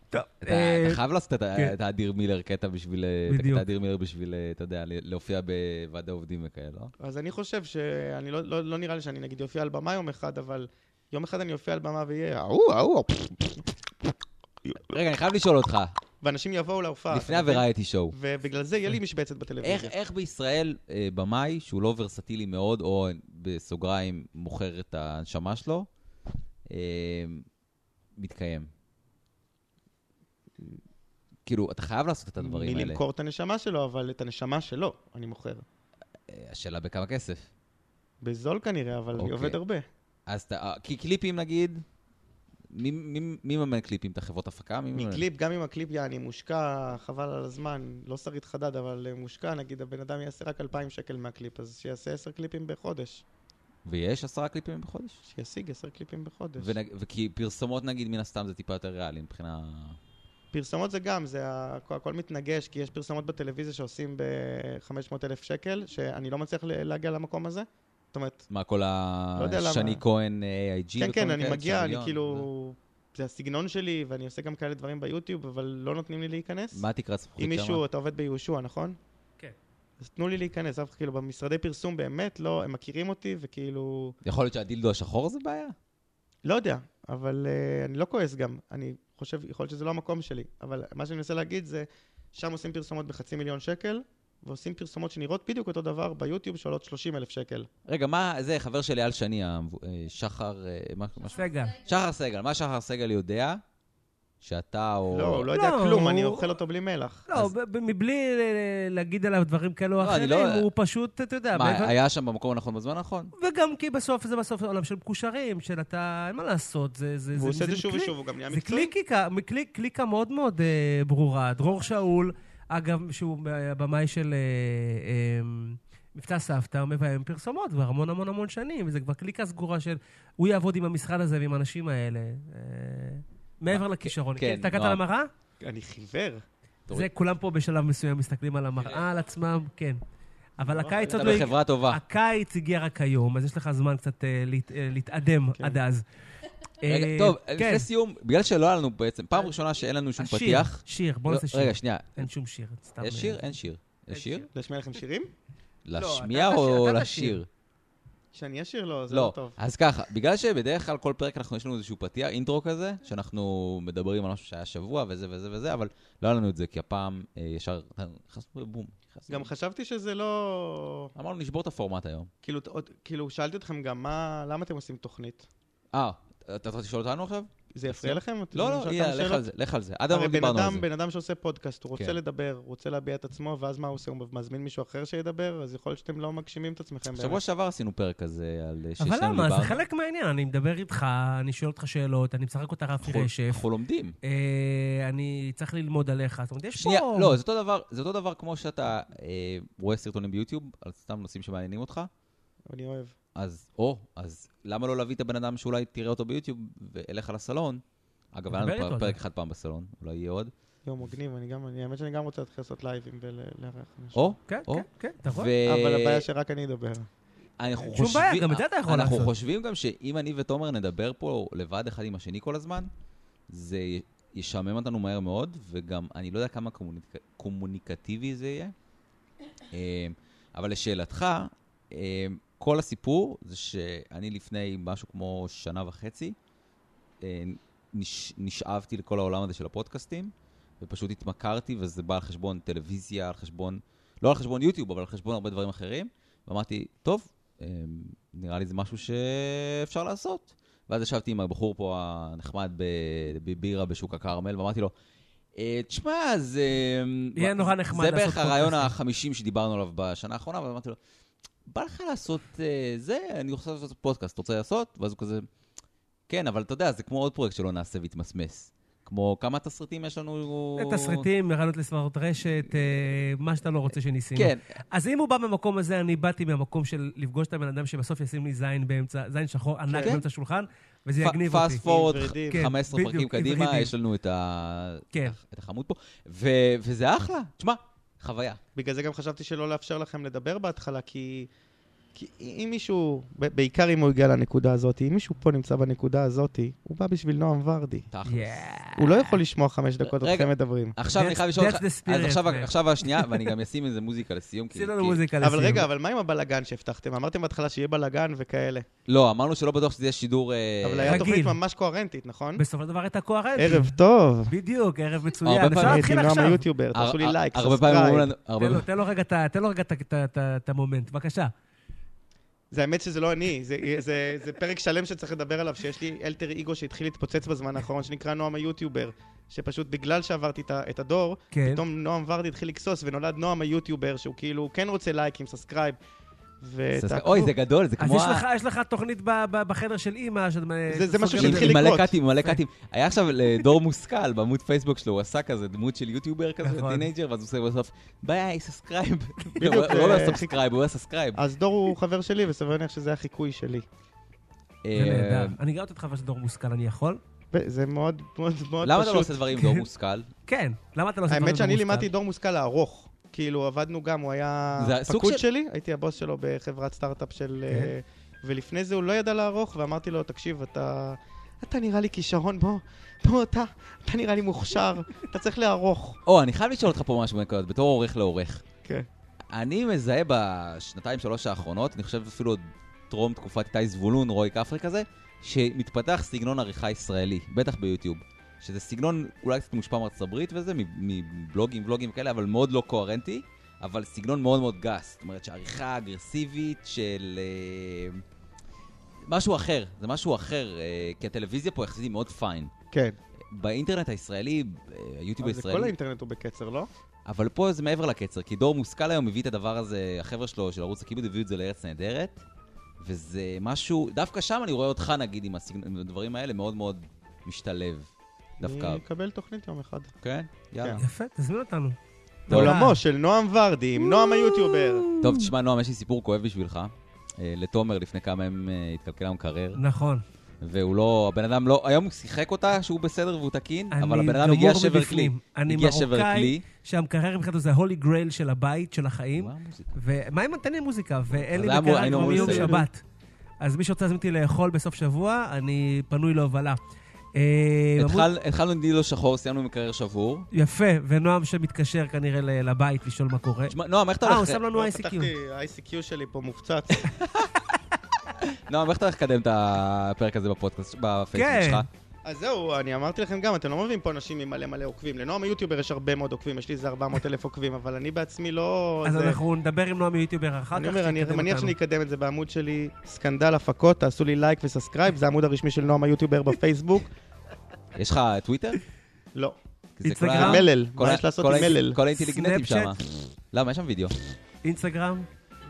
Speaker 2: טוב,
Speaker 1: אתה
Speaker 2: אה,
Speaker 1: אתה חייב לעשות את ה-
Speaker 2: כן.
Speaker 1: את האדיר מילר קטע בשביל... אה, את הקטע
Speaker 2: בדיוק.
Speaker 1: האדיר מילר בשביל, אה, אתה יודע, ל- להופיע בוועד העובדים וכאלה, לא?
Speaker 3: אז אני חושב שאני לא, לא, לא נראה לי שאני נגיד אופיע על במה יום אחד, אבל יום אחד אני אופיע על במה ויהיה ההוא, ההוא,
Speaker 1: רגע, אני חייב לשאול אותך,
Speaker 3: ואנשים יבואו להופעה.
Speaker 1: לפני
Speaker 3: אתה מבין?
Speaker 1: הוורייטי שואו,
Speaker 3: ובגלל זה יהיה לי משבצת
Speaker 1: איך,
Speaker 3: בטלוויזיה.
Speaker 1: איך בישראל אה, במאי, שהוא לא ורסטילי מאוד, או בסוגריים מוכר את הנשמה שלו, אה, מתקיים? כאילו, אתה חייב לעשות את הדברים האלה.
Speaker 3: מלמכור את הנשמה שלו, אבל את הנשמה שלו אני מוכר.
Speaker 1: אה, השאלה בכמה כסף.
Speaker 3: בזול כנראה, אבל אני
Speaker 1: אוקיי.
Speaker 3: עובד הרבה.
Speaker 1: אז אתה, אה, כי קליפים נגיד, מי- מי מי מממן קליפים? את החברות הפקה? מי מממן?
Speaker 3: מקליפ, גם אם הקליפ יעני מושקע, חבל על הזמן, לא שרית חדד, אבל אה, מושקע, נגיד הבן אדם יעשה רק 2,000 שקל מהקליפ, אז שיעשה 10 קליפים בחודש.
Speaker 1: ויש עשרה קליפים בחודש?
Speaker 3: שישיג 10 קליפים בחודש.
Speaker 1: ונג- וכי פרסומות נגיד, מן הסתם זה טיפה יותר ריאלי מבחינה...
Speaker 3: פרסומות זה גם, זה ה- הכ- הכל מתנגש, כי יש פרסומות בטלוויזיה שעושים ב-500 אלף שקל, שאני לא מצליח ל- להגיע למקום הזה. זאת אומרת,
Speaker 1: מה, כל
Speaker 3: לא יודע למה.
Speaker 1: השני כהן, אה, AIG?
Speaker 3: כן,
Speaker 1: וכל
Speaker 3: כן,
Speaker 1: מיני
Speaker 3: אני
Speaker 1: כאלה, אה?
Speaker 3: מגיע, אני
Speaker 1: סביון, זה.
Speaker 3: כאילו...
Speaker 1: לא?
Speaker 3: זה הסגנון שלי, ואני עושה גם כאלה דברים ביוטיוב, אבל לא נותנים לי להיכנס.
Speaker 1: מה תקרת זכוכית
Speaker 3: אם
Speaker 1: שם?
Speaker 3: מישהו, אתה עובד ביהושע, נכון?
Speaker 2: כן.
Speaker 3: אז תנו לי להיכנס, אף כאילו במשרדי פרסום באמת, לא, הם מכירים אותי, וכאילו...
Speaker 1: יכול להיות שהדילדו השחור זה בעיה?
Speaker 3: לא יודע, אבל uh, אני לא כועס גם. אני חושב, יכול להיות שזה לא המקום שלי, אבל מה שאני מנסה להגיד זה, שם עושים פרסומות בחצי מיליון שקל, ועושים פרסומות שנראות בדיוק אותו דבר ביוטיוב שעולות 30 אלף שקל.
Speaker 1: רגע, מה זה חבר של אייל שני, המבו- אה, שחר... אה, מה- מה-
Speaker 2: סגל.
Speaker 1: שחר סגל, מה שחר סגל יודע? שאתה או...
Speaker 3: לא, הוא לא יודע
Speaker 2: לא,
Speaker 3: כלום,
Speaker 2: הוא-
Speaker 3: אני אוכל אותו בלי מלח.
Speaker 2: לא, ב- ב- מבלי אה, להגיד עליו דברים כאלה או
Speaker 1: לא, אני
Speaker 2: אחרים,
Speaker 1: לא-
Speaker 2: הוא פשוט, אתה יודע,
Speaker 1: מה, אה-
Speaker 2: בעבר-
Speaker 1: היה שם במקום הנכון בזמן הנכון?
Speaker 2: וגם כי בסוף זה בסוף עולם של מקושרים, של אתה, אין מה לעשות, זה... זה
Speaker 3: והוא
Speaker 2: זה-
Speaker 3: עושה את זה
Speaker 2: זה
Speaker 3: שוב
Speaker 2: כלי-
Speaker 3: ושוב, הוא גם נהיה
Speaker 2: זה
Speaker 3: מקצועי.
Speaker 2: קליקיקה, מקליק, קליקה מאוד מאוד אה, ברורה. דרור שאול, אגב, שהוא הבמאי של אה, אה, מבצע סבתא, הוא מביים פרסומות כבר המון המון המון שנים, וזה כבר קליקה סגורה של הוא יעבוד עם המשרד הזה ועם האנשים האלה. אה, מעבר לכישרון.
Speaker 1: כן,
Speaker 2: כן, הסתכלת
Speaker 1: נועם.
Speaker 2: על המראה?
Speaker 3: אני חיוור.
Speaker 1: תוריד.
Speaker 2: זה, כולם פה בשלב מסוים מסתכלים על המראה, על עצמם, כן. אבל הקיץ
Speaker 1: אה, אתה
Speaker 2: עוד לא... הג-
Speaker 1: בחברה טובה.
Speaker 2: הקיץ הגיע רק היום, אז יש לך זמן קצת אה, להת- אה, להתאדם עד אז.
Speaker 1: כן. רגע,
Speaker 2: אה,
Speaker 1: טוב,
Speaker 2: כן.
Speaker 1: לפני סיום, בגלל שלא היה לנו בעצם, פעם ראשונה שאין לנו שום
Speaker 2: השיר,
Speaker 1: פתיח.
Speaker 2: שיר, בוא
Speaker 1: לא,
Speaker 2: נעשה שיר.
Speaker 1: רגע, שנייה.
Speaker 2: אין שום שיר, סתם.
Speaker 1: יש
Speaker 2: אה,
Speaker 1: שיר? אין שיר.
Speaker 2: אין
Speaker 1: יש שיר?
Speaker 2: שיר. לא,
Speaker 3: להשמיע לא לכם שירים?
Speaker 1: להשמיע
Speaker 2: אתה תשיר,
Speaker 1: או
Speaker 2: אתה
Speaker 1: לשיר?
Speaker 2: תשיר.
Speaker 3: שאני אשיר לו, זה לא
Speaker 1: לא.
Speaker 3: טוב.
Speaker 1: אז ככה, בגלל שבדרך כלל כל פרק אנחנו, יש לנו איזשהו פתיח, אינטרו כזה, שאנחנו מדברים על משהו שהיה שבוע וזה וזה וזה, אבל לא היה לנו את זה, כי הפעם אה, ישר נכנסנו לבום. נכנסנו
Speaker 3: גם חשבתי שזה לא...
Speaker 1: אמרנו, נשבור את הפורמט היום.
Speaker 3: כאילו, עוד- כאילו, שאלתי אתכם גם, מה... למה אתם עושים תוכנית?
Speaker 1: אה, אתה רוצה לשאול אותנו עכשיו?
Speaker 3: זה יפריע לכם? אתם
Speaker 1: לא,
Speaker 3: נשאל
Speaker 1: לא,
Speaker 3: כמה
Speaker 1: יאללה, לך
Speaker 3: שאלות?
Speaker 1: על זה, לך על זה. עד היום
Speaker 3: הרי
Speaker 1: לא
Speaker 3: בן
Speaker 1: דיברנו על
Speaker 3: אדם,
Speaker 1: זה.
Speaker 3: בן אדם שעושה פודקאסט, הוא רוצה
Speaker 1: כן.
Speaker 3: לדבר, הוא רוצה להביע את עצמו, ואז מה הוא עושה? הוא מזמין מישהו אחר שידבר, אז יכול להיות שאתם לא מגשימים את עצמכם.
Speaker 1: שבוע
Speaker 3: באמת.
Speaker 1: שעבר עשינו פרק כזה על אה,
Speaker 2: אבל
Speaker 1: ששנינו
Speaker 2: למה? זה
Speaker 1: דיברנו.
Speaker 2: חלק מהעניין, אני מדבר איתך, אני שואל אותך שאלות, אני משחק אותה רפי
Speaker 1: אנחנו-
Speaker 2: רשף,
Speaker 1: אנחנו לומדים.
Speaker 2: אה, אני צריך ללמוד עליך, זאת אומרת, יש פה...
Speaker 1: שנייה, לא, זה אותו דבר, זה אותו דבר כמו שאתה אה, רואה סרטונים ביוטיוב, על סתם נושאים שמעניינים אותך,
Speaker 3: אני אוהב.
Speaker 1: אז, או, אז למה לא להביא את הבן אדם שאולי תראה אותו ביוטיוב ואליך לסלון? אגב, היה לנו
Speaker 2: נדבר איתו
Speaker 1: פרק,
Speaker 2: על זה. כן,
Speaker 1: פרק אחד פעם בסלון, אולי יהיה עוד.
Speaker 3: יום מגניב, אני גם, אני- האמת שאני גם רוצה להתחיל לעשות לייבים ולארח אנשים.
Speaker 1: או,
Speaker 2: כן,
Speaker 1: או.
Speaker 2: כן, כן, אתה רואה?
Speaker 1: אוקיי.
Speaker 3: אבל הבעיה
Speaker 1: ואנחנו
Speaker 3: שרק אני אדבר.
Speaker 1: חושבים...
Speaker 2: שום בעיה, גם את זה אתה יכול
Speaker 1: אנחנו
Speaker 2: לעשות.
Speaker 1: חושבים גם שאם אני ותומר נדבר פה לבד אחד עם השני כל הזמן, זה י- ישעמם אותנו מהר מאוד, וגם אני לא יודע כמה קומוניק... קומוניקטיבי זה יהיה. אמ, אבל לשאלתך, אמ, כל הסיפור זה שאני לפני משהו כמו שנה וחצי, אה, נש, נשאבתי לכל העולם הזה של הפודקאסטים, ופשוט התמכרתי, וזה בא על חשבון טלוויזיה, על חשבון, לא על חשבון יוטיוב, אבל על חשבון הרבה דברים אחרים, ואמרתי, טוב, אה, נראה לי זה משהו שאפשר לעשות. ואז ישבתי עם הבחור פה הנחמד ב- בבירה בשוק הכרמל, ואמרתי לו, "אה, תשמע, זה... אמ,
Speaker 2: יהיה נורא נחמד
Speaker 1: זה
Speaker 2: לעשות
Speaker 1: בערך הרעיון
Speaker 2: פודקאסטים."
Speaker 1: החמישים שדיברנו עליו בשנה האחרונה, ואמרתי לו, בא לך לעשות אה, זה, אני רוצה לעשות פודקאסט, אתה רוצה לעשות? ואז הוא כזה, כן, אבל אתה יודע, זה כמו עוד פרויקט שלא נעשה והתמסמס. כמו כמה תסריטים יש לנו...
Speaker 2: תסריטים, הרעיונות לסברות רשת, אה, מה שאתה לא רוצה שניסינו.
Speaker 1: כן,
Speaker 2: אז אם הוא בא מהמקום הזה, אני באתי מהמקום של לפגוש את הבן אדם שבסוף ישים לי זין באמצע, זין שחור ענק
Speaker 1: כן.
Speaker 2: באמצע השולחן, וזה
Speaker 1: פ-
Speaker 2: יגניב אותי.
Speaker 1: fast forward
Speaker 3: ורידים.
Speaker 2: כן,
Speaker 1: 15
Speaker 2: בדיוק,
Speaker 1: פרקים
Speaker 2: ורידים.
Speaker 1: קדימה, יש לנו את ה-
Speaker 2: כן.
Speaker 1: את החמוד פה, ו- וזה אחלה. תשמע, חוויה.
Speaker 3: בגלל זה גם חשבתי שלא לאפשר לכם לדבר בהתחלה, כי... כי אם מישהו, ב- בעיקר אם הוא הגיע לנקודה הזאת, אם מישהו פה נמצא בנקודה הזאת, הוא בא בשביל נועם ורדי.
Speaker 1: תכלס.
Speaker 2: Yeah.
Speaker 3: הוא לא יכול לשמוע חמש דקות
Speaker 1: רגע.
Speaker 3: אתכם מדברים.
Speaker 1: עכשיו אני
Speaker 2: That's-
Speaker 1: חייב לשאול
Speaker 2: that's
Speaker 1: אותך,
Speaker 2: the spirit,
Speaker 1: אז עכשיו-
Speaker 2: man.
Speaker 1: עכשיו השנייה, ואני גם אשים איזה מוזיקה לסיום. כי-
Speaker 2: עשי לנו
Speaker 1: כי-
Speaker 2: מוזיקה לסיום.
Speaker 3: אבל רגע, אבל מה עם הבלגן שהבטחתם? אמרתם בהתחלה שיהיה בלגן וכאלה.
Speaker 1: לא, אמרנו שלא בטוח שזה יהיה שידור... אה,
Speaker 3: אבל היה
Speaker 2: רגיל.
Speaker 3: תוכנית ממש קוהרנטית, נכון?
Speaker 2: בסופו של דבר הייתה קוהרנטית.
Speaker 3: ערב טוב.
Speaker 2: בדיוק, ערב
Speaker 1: הרבה
Speaker 2: מצוין. אפשר
Speaker 1: פעמים-
Speaker 2: לא, להתחיל
Speaker 3: הייתי
Speaker 2: עכשיו.
Speaker 3: נועם היוטיובר,
Speaker 1: הר-
Speaker 3: תעשו לי
Speaker 1: הר-
Speaker 3: לייק,
Speaker 1: אה, הרבה פעמים אומרים
Speaker 3: סאבסקרייב.
Speaker 1: לנו... הרבה
Speaker 2: תן לו-
Speaker 1: פעמים-
Speaker 2: תן לו רגע את ה- תן לו רגע את ה- את ה- את ה- את המומנט, בבקשה.
Speaker 3: זה האמת שזה לא אני, זה- זה- זה פרק שלם שצריך לדבר עליו, שיש לי אלטר איגו שהתחיל להתפוצץ בזמן האחרון, שנקרא נועם היוטיובר. שפשוט בגלל שעברתי את ה- את הדור,
Speaker 2: כן.
Speaker 3: פתאום נועם ורדי התחיל לגסוס, ונולד נועם היוטיובר, שהוא כאילו כן רוצה לייקים, סאסקרייב.
Speaker 1: סס-
Speaker 3: ותעקבו.
Speaker 1: אה, אוי, זה גדול, זה
Speaker 2: אז
Speaker 1: כמו...
Speaker 2: יש
Speaker 1: ה-
Speaker 2: לך- יש לך תוכנית ב- ב- בחדר של אימא, שאתה...
Speaker 3: זה- זה משהו
Speaker 1: עם-
Speaker 3: שהתחיל
Speaker 1: עם מלא
Speaker 3: לקרות.
Speaker 1: קאטים, מלא קאטים. היה עכשיו לדור מושכל, בעמוד פייסבוק שלו, הוא עשה כזה דמות של יוטיובר כזה,
Speaker 2: נכון.
Speaker 1: טינג'ר, ואז הוא עושה בסוף, ביי, סאסקרייב.
Speaker 3: בדיוק,
Speaker 1: הוא לא
Speaker 3: אה,
Speaker 1: היה סאבסקרייב, הוא היה סאסקרייב.
Speaker 2: אה,
Speaker 3: אז דור הוא חבר שלי, וסביר להניח שזה החיקוי שלי.
Speaker 2: זה
Speaker 1: אה,
Speaker 2: נהדר. אני גאה אותך שזה דור מושכל, אני יכול?
Speaker 3: זה מאוד מאוד מאוד
Speaker 1: למה אתה לא
Speaker 3: פשוט.
Speaker 1: עושה דברים עם דור מושכל?
Speaker 2: כן. למה אתה לא עושה דברים
Speaker 3: האמת שאני
Speaker 2: דור מושכל?
Speaker 3: לימדתי דור מושכל הארוך. כאילו, עבדנו גם, הוא היה
Speaker 1: זה הסוג של-
Speaker 3: פקוד
Speaker 1: כן.
Speaker 3: שלי, הייתי הבוס שלו בחברת סטארט-אפ של... אה, ולפני זה הוא לא ידע לערוך, ואמרתי לו, תקשיב, אתה... אתה נראה לי כישרון, בוא, בוא אתה, אתה נראה לי מוכשר, אתה צריך לערוך.
Speaker 1: או, אני חייב לשאול אותך פה משהו בנקודות, בתור עורך לעורך.
Speaker 3: כן.
Speaker 1: אני מזהה בשנתיים, שלוש האחרונות, אני חושב אפילו עוד טרום תקופת איתי זבולון, רוי כפרי כזה, שמתפתח סגנון עריכה ישראלי, בטח ביוטיוב. שזה סגנון אולי קצת מושפע מארצות הברית וזה, מב- מבלוגים, בלוגים וכאלה, אבל מאוד לא קוהרנטי, אבל סגנון מאוד מאוד גס. זאת אומרת שעריכה אגרסיבית של... אה, משהו אחר, זה משהו אחר, אה, כי הטלוויזיה פה יחסית היא מאוד פיין.
Speaker 3: כן.
Speaker 1: באינטרנט הישראלי, אה, היוטיוב
Speaker 3: אבל זה כל
Speaker 1: הישראלי,
Speaker 3: האינטרנט הוא בקצר, לא?
Speaker 1: אבל פה זה מעבר לקצר, כי דור מושכל היום הביא את הדבר הזה, החבר'ה שלו של ערוץ הכיבוד הביאו את זה לארץ נהדרת, וזה משהו, דווקא שם אני רואה אותך נגיד עם, הסגנ... עם הדברים האלה מאוד מאוד משתלב. דווקא,
Speaker 3: אני אקבל תוכנית יום אחד.
Speaker 1: כן? יאללה.
Speaker 2: יפה, תזמין אותנו.
Speaker 1: טוב.
Speaker 3: בעולמו של נועם ורדי, עם נועם היוטיובר.
Speaker 2: כן.
Speaker 1: טוב, תשמע, נועם, יש לי סיפור כואב בשבילך. אה, לתומר לפני כמה ימים אה, התקלקל המקרר,
Speaker 2: נכון.
Speaker 1: והוא לא, הבן אדם לא, היום הוא שיחק אותה שהוא בסדר והוא תקין, אבל
Speaker 2: אני
Speaker 1: הבן אדם הגיע
Speaker 2: גמור
Speaker 1: שבר כלי.
Speaker 2: מבפנים. אני
Speaker 1: הגיע שבר
Speaker 2: מרוקאי.
Speaker 1: כלי.
Speaker 2: שהמקרר מבחינתו זה ה-holy grail של הבית, של החיים.
Speaker 1: מה המוזיקה?
Speaker 2: ומה אם תן לי מוזיקה, ואין
Speaker 1: אז
Speaker 2: לי
Speaker 1: היה אמור-
Speaker 2: מקרר
Speaker 1: היינו
Speaker 2: כבר
Speaker 1: אמורים
Speaker 2: מיום
Speaker 1: לסיים.
Speaker 2: שבת. אז מי שרוצה להזמין אותי לאכול בסוף שבוע, אני פנוי להובלה. אה, אמרו-
Speaker 1: התחל- התחלנו עם דילו שחור, סיימנו עם מקרר שבור.
Speaker 2: יפה, ונועם שמתקשר כנראה ל- לבית לשאול מה קורה.
Speaker 1: תשמע, נועם, איך אתה
Speaker 2: אה, הוא
Speaker 1: הולך...
Speaker 2: שם לנו
Speaker 3: לא,
Speaker 2: ICQ.
Speaker 3: פתחתי, ה-ICQ שלי פה מופצץ.
Speaker 1: נועם, איך אתה הולך לקדם את הפרק הזה בפודקאסט, בפייסבוק
Speaker 2: כן.
Speaker 1: שלך?
Speaker 3: אז זהו, אני אמרתי לכם גם, אתם לא מביאים פה אנשים עם מלא מלא עוקבים. לנועם היוטיובר יש הרבה מאוד עוקבים, יש לי איזה 400 אלף עוקבים, אבל אני בעצמי לא...
Speaker 2: אז
Speaker 3: זה-
Speaker 2: אנחנו נדבר עם נועם מיוטיובר אחר כך.
Speaker 3: אני אומר, אני
Speaker 2: שיקדם
Speaker 3: מניח
Speaker 2: אותנו.
Speaker 3: שאני אקדם את זה בעמוד שלי, סקנדל הפקות, תעשו לי לייק וסאסקרייב, זה העמוד הרשמי של נועם היוטיובר בפייסבוק.
Speaker 1: יש לך טוויטר?
Speaker 3: לא.
Speaker 1: כי זה כל
Speaker 2: אינסטגרם?
Speaker 1: ה-
Speaker 2: אה,
Speaker 3: מלל,
Speaker 1: כל
Speaker 3: מה
Speaker 1: ה-
Speaker 3: יש לעשות
Speaker 1: כל
Speaker 3: עם
Speaker 1: האינט-
Speaker 3: מלל?
Speaker 1: כל האינטליגנטים שם.
Speaker 2: סנאפצ'אט?
Speaker 1: למה? יש שם וידאו.
Speaker 2: אינסטגרם?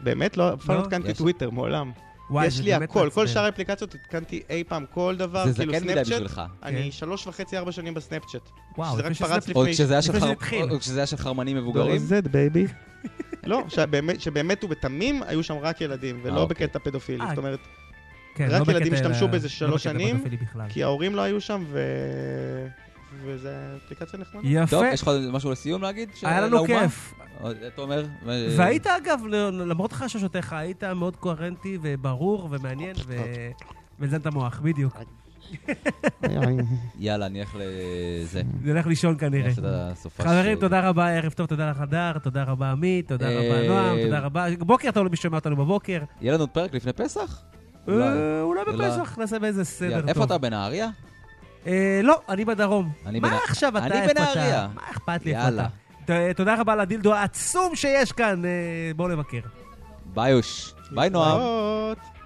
Speaker 3: באמת? לא, אף פעם
Speaker 2: לא.
Speaker 3: לא התקנתי
Speaker 1: יש.
Speaker 3: טוויטר, מעולם.
Speaker 2: וואי,
Speaker 3: יש
Speaker 2: זה
Speaker 3: לי
Speaker 2: באמת
Speaker 3: הכל, כל
Speaker 2: מעצבן.
Speaker 3: שאר האפליקציות התקנתי אי פעם כל דבר,
Speaker 1: זה
Speaker 3: כאילו
Speaker 1: זקן מדי
Speaker 3: סנאפצ'אט.
Speaker 1: בשבילך.
Speaker 3: אני
Speaker 2: כן.
Speaker 3: שלוש וחצי, ארבע שנים בסנאפצ'אט.
Speaker 2: וואו,
Speaker 3: שזה רק
Speaker 2: לפני שזה-
Speaker 3: פרץ
Speaker 1: או
Speaker 3: לפני-
Speaker 1: כשזה היה של
Speaker 2: לפני
Speaker 1: חר-
Speaker 2: שזה התחיל. לא,
Speaker 1: או כשזה היה של חרמנים
Speaker 3: דור
Speaker 1: מבוגרים?
Speaker 3: Z, בייבי. לא, שבאמת, שבאמת הוא בתמים, היו שם רק ילדים,
Speaker 1: אה,
Speaker 3: ולא
Speaker 1: אוקיי.
Speaker 3: בקטע פדופילי.
Speaker 2: אה,
Speaker 3: זאת אומרת,
Speaker 2: כן,
Speaker 3: רק
Speaker 2: לא בקטע-
Speaker 3: ילדים השתמשו בזה שלוש
Speaker 2: לא בקטע
Speaker 3: שנים,
Speaker 2: פדופילי בכלל.
Speaker 3: כי ההורים לא היו שם, ו... וזה אפליקציה נחמדה.
Speaker 1: טוב,
Speaker 2: יפה,
Speaker 1: יש לך עוד משהו לסיום להגיד? של-
Speaker 2: היה לנו
Speaker 1: לאומה?
Speaker 2: כיף.
Speaker 1: או, תומר? ו-
Speaker 2: והיית, אגב, ל- למרות חששותיך, היית מאוד קוהרנטי וברור ומעניין, ו- ולזן את המוח, בדיוק.
Speaker 1: יאללה, אני אלך לזה.
Speaker 2: נלך לישון כנראה.
Speaker 1: נלך
Speaker 3: אה,
Speaker 1: את הסופה
Speaker 2: חברים,
Speaker 1: של-
Speaker 2: תודה רבה, ערב טוב, תודה לך, הדר, תודה רבה, עמית, תודה
Speaker 1: אה,
Speaker 2: רבה, נועם, תודה רבה. בוקר טוב למי ששומע אותנו בבוקר.
Speaker 1: יהיה לנו עוד פרק לפני פסח? אולי.
Speaker 2: אה, אולי
Speaker 1: אולי.
Speaker 2: בפסח נעשה באיזה סדר
Speaker 1: לא, יאללה.
Speaker 2: טוב.
Speaker 1: איפה אתה, בנהריה?
Speaker 2: אה, לא, אני בדרום.
Speaker 1: אני
Speaker 2: מה
Speaker 1: בנ-
Speaker 2: עכשיו אתה,
Speaker 1: אני
Speaker 2: איפה אתה?
Speaker 1: בנהריה.
Speaker 2: מה אכפת לי איפה
Speaker 1: יאללה.
Speaker 2: אתה? ת- תודה רבה לדילדו העצום שיש כאן, אה, בואו לבקר.
Speaker 1: ביי, יוש. ביי, נועם.
Speaker 3: להתראות.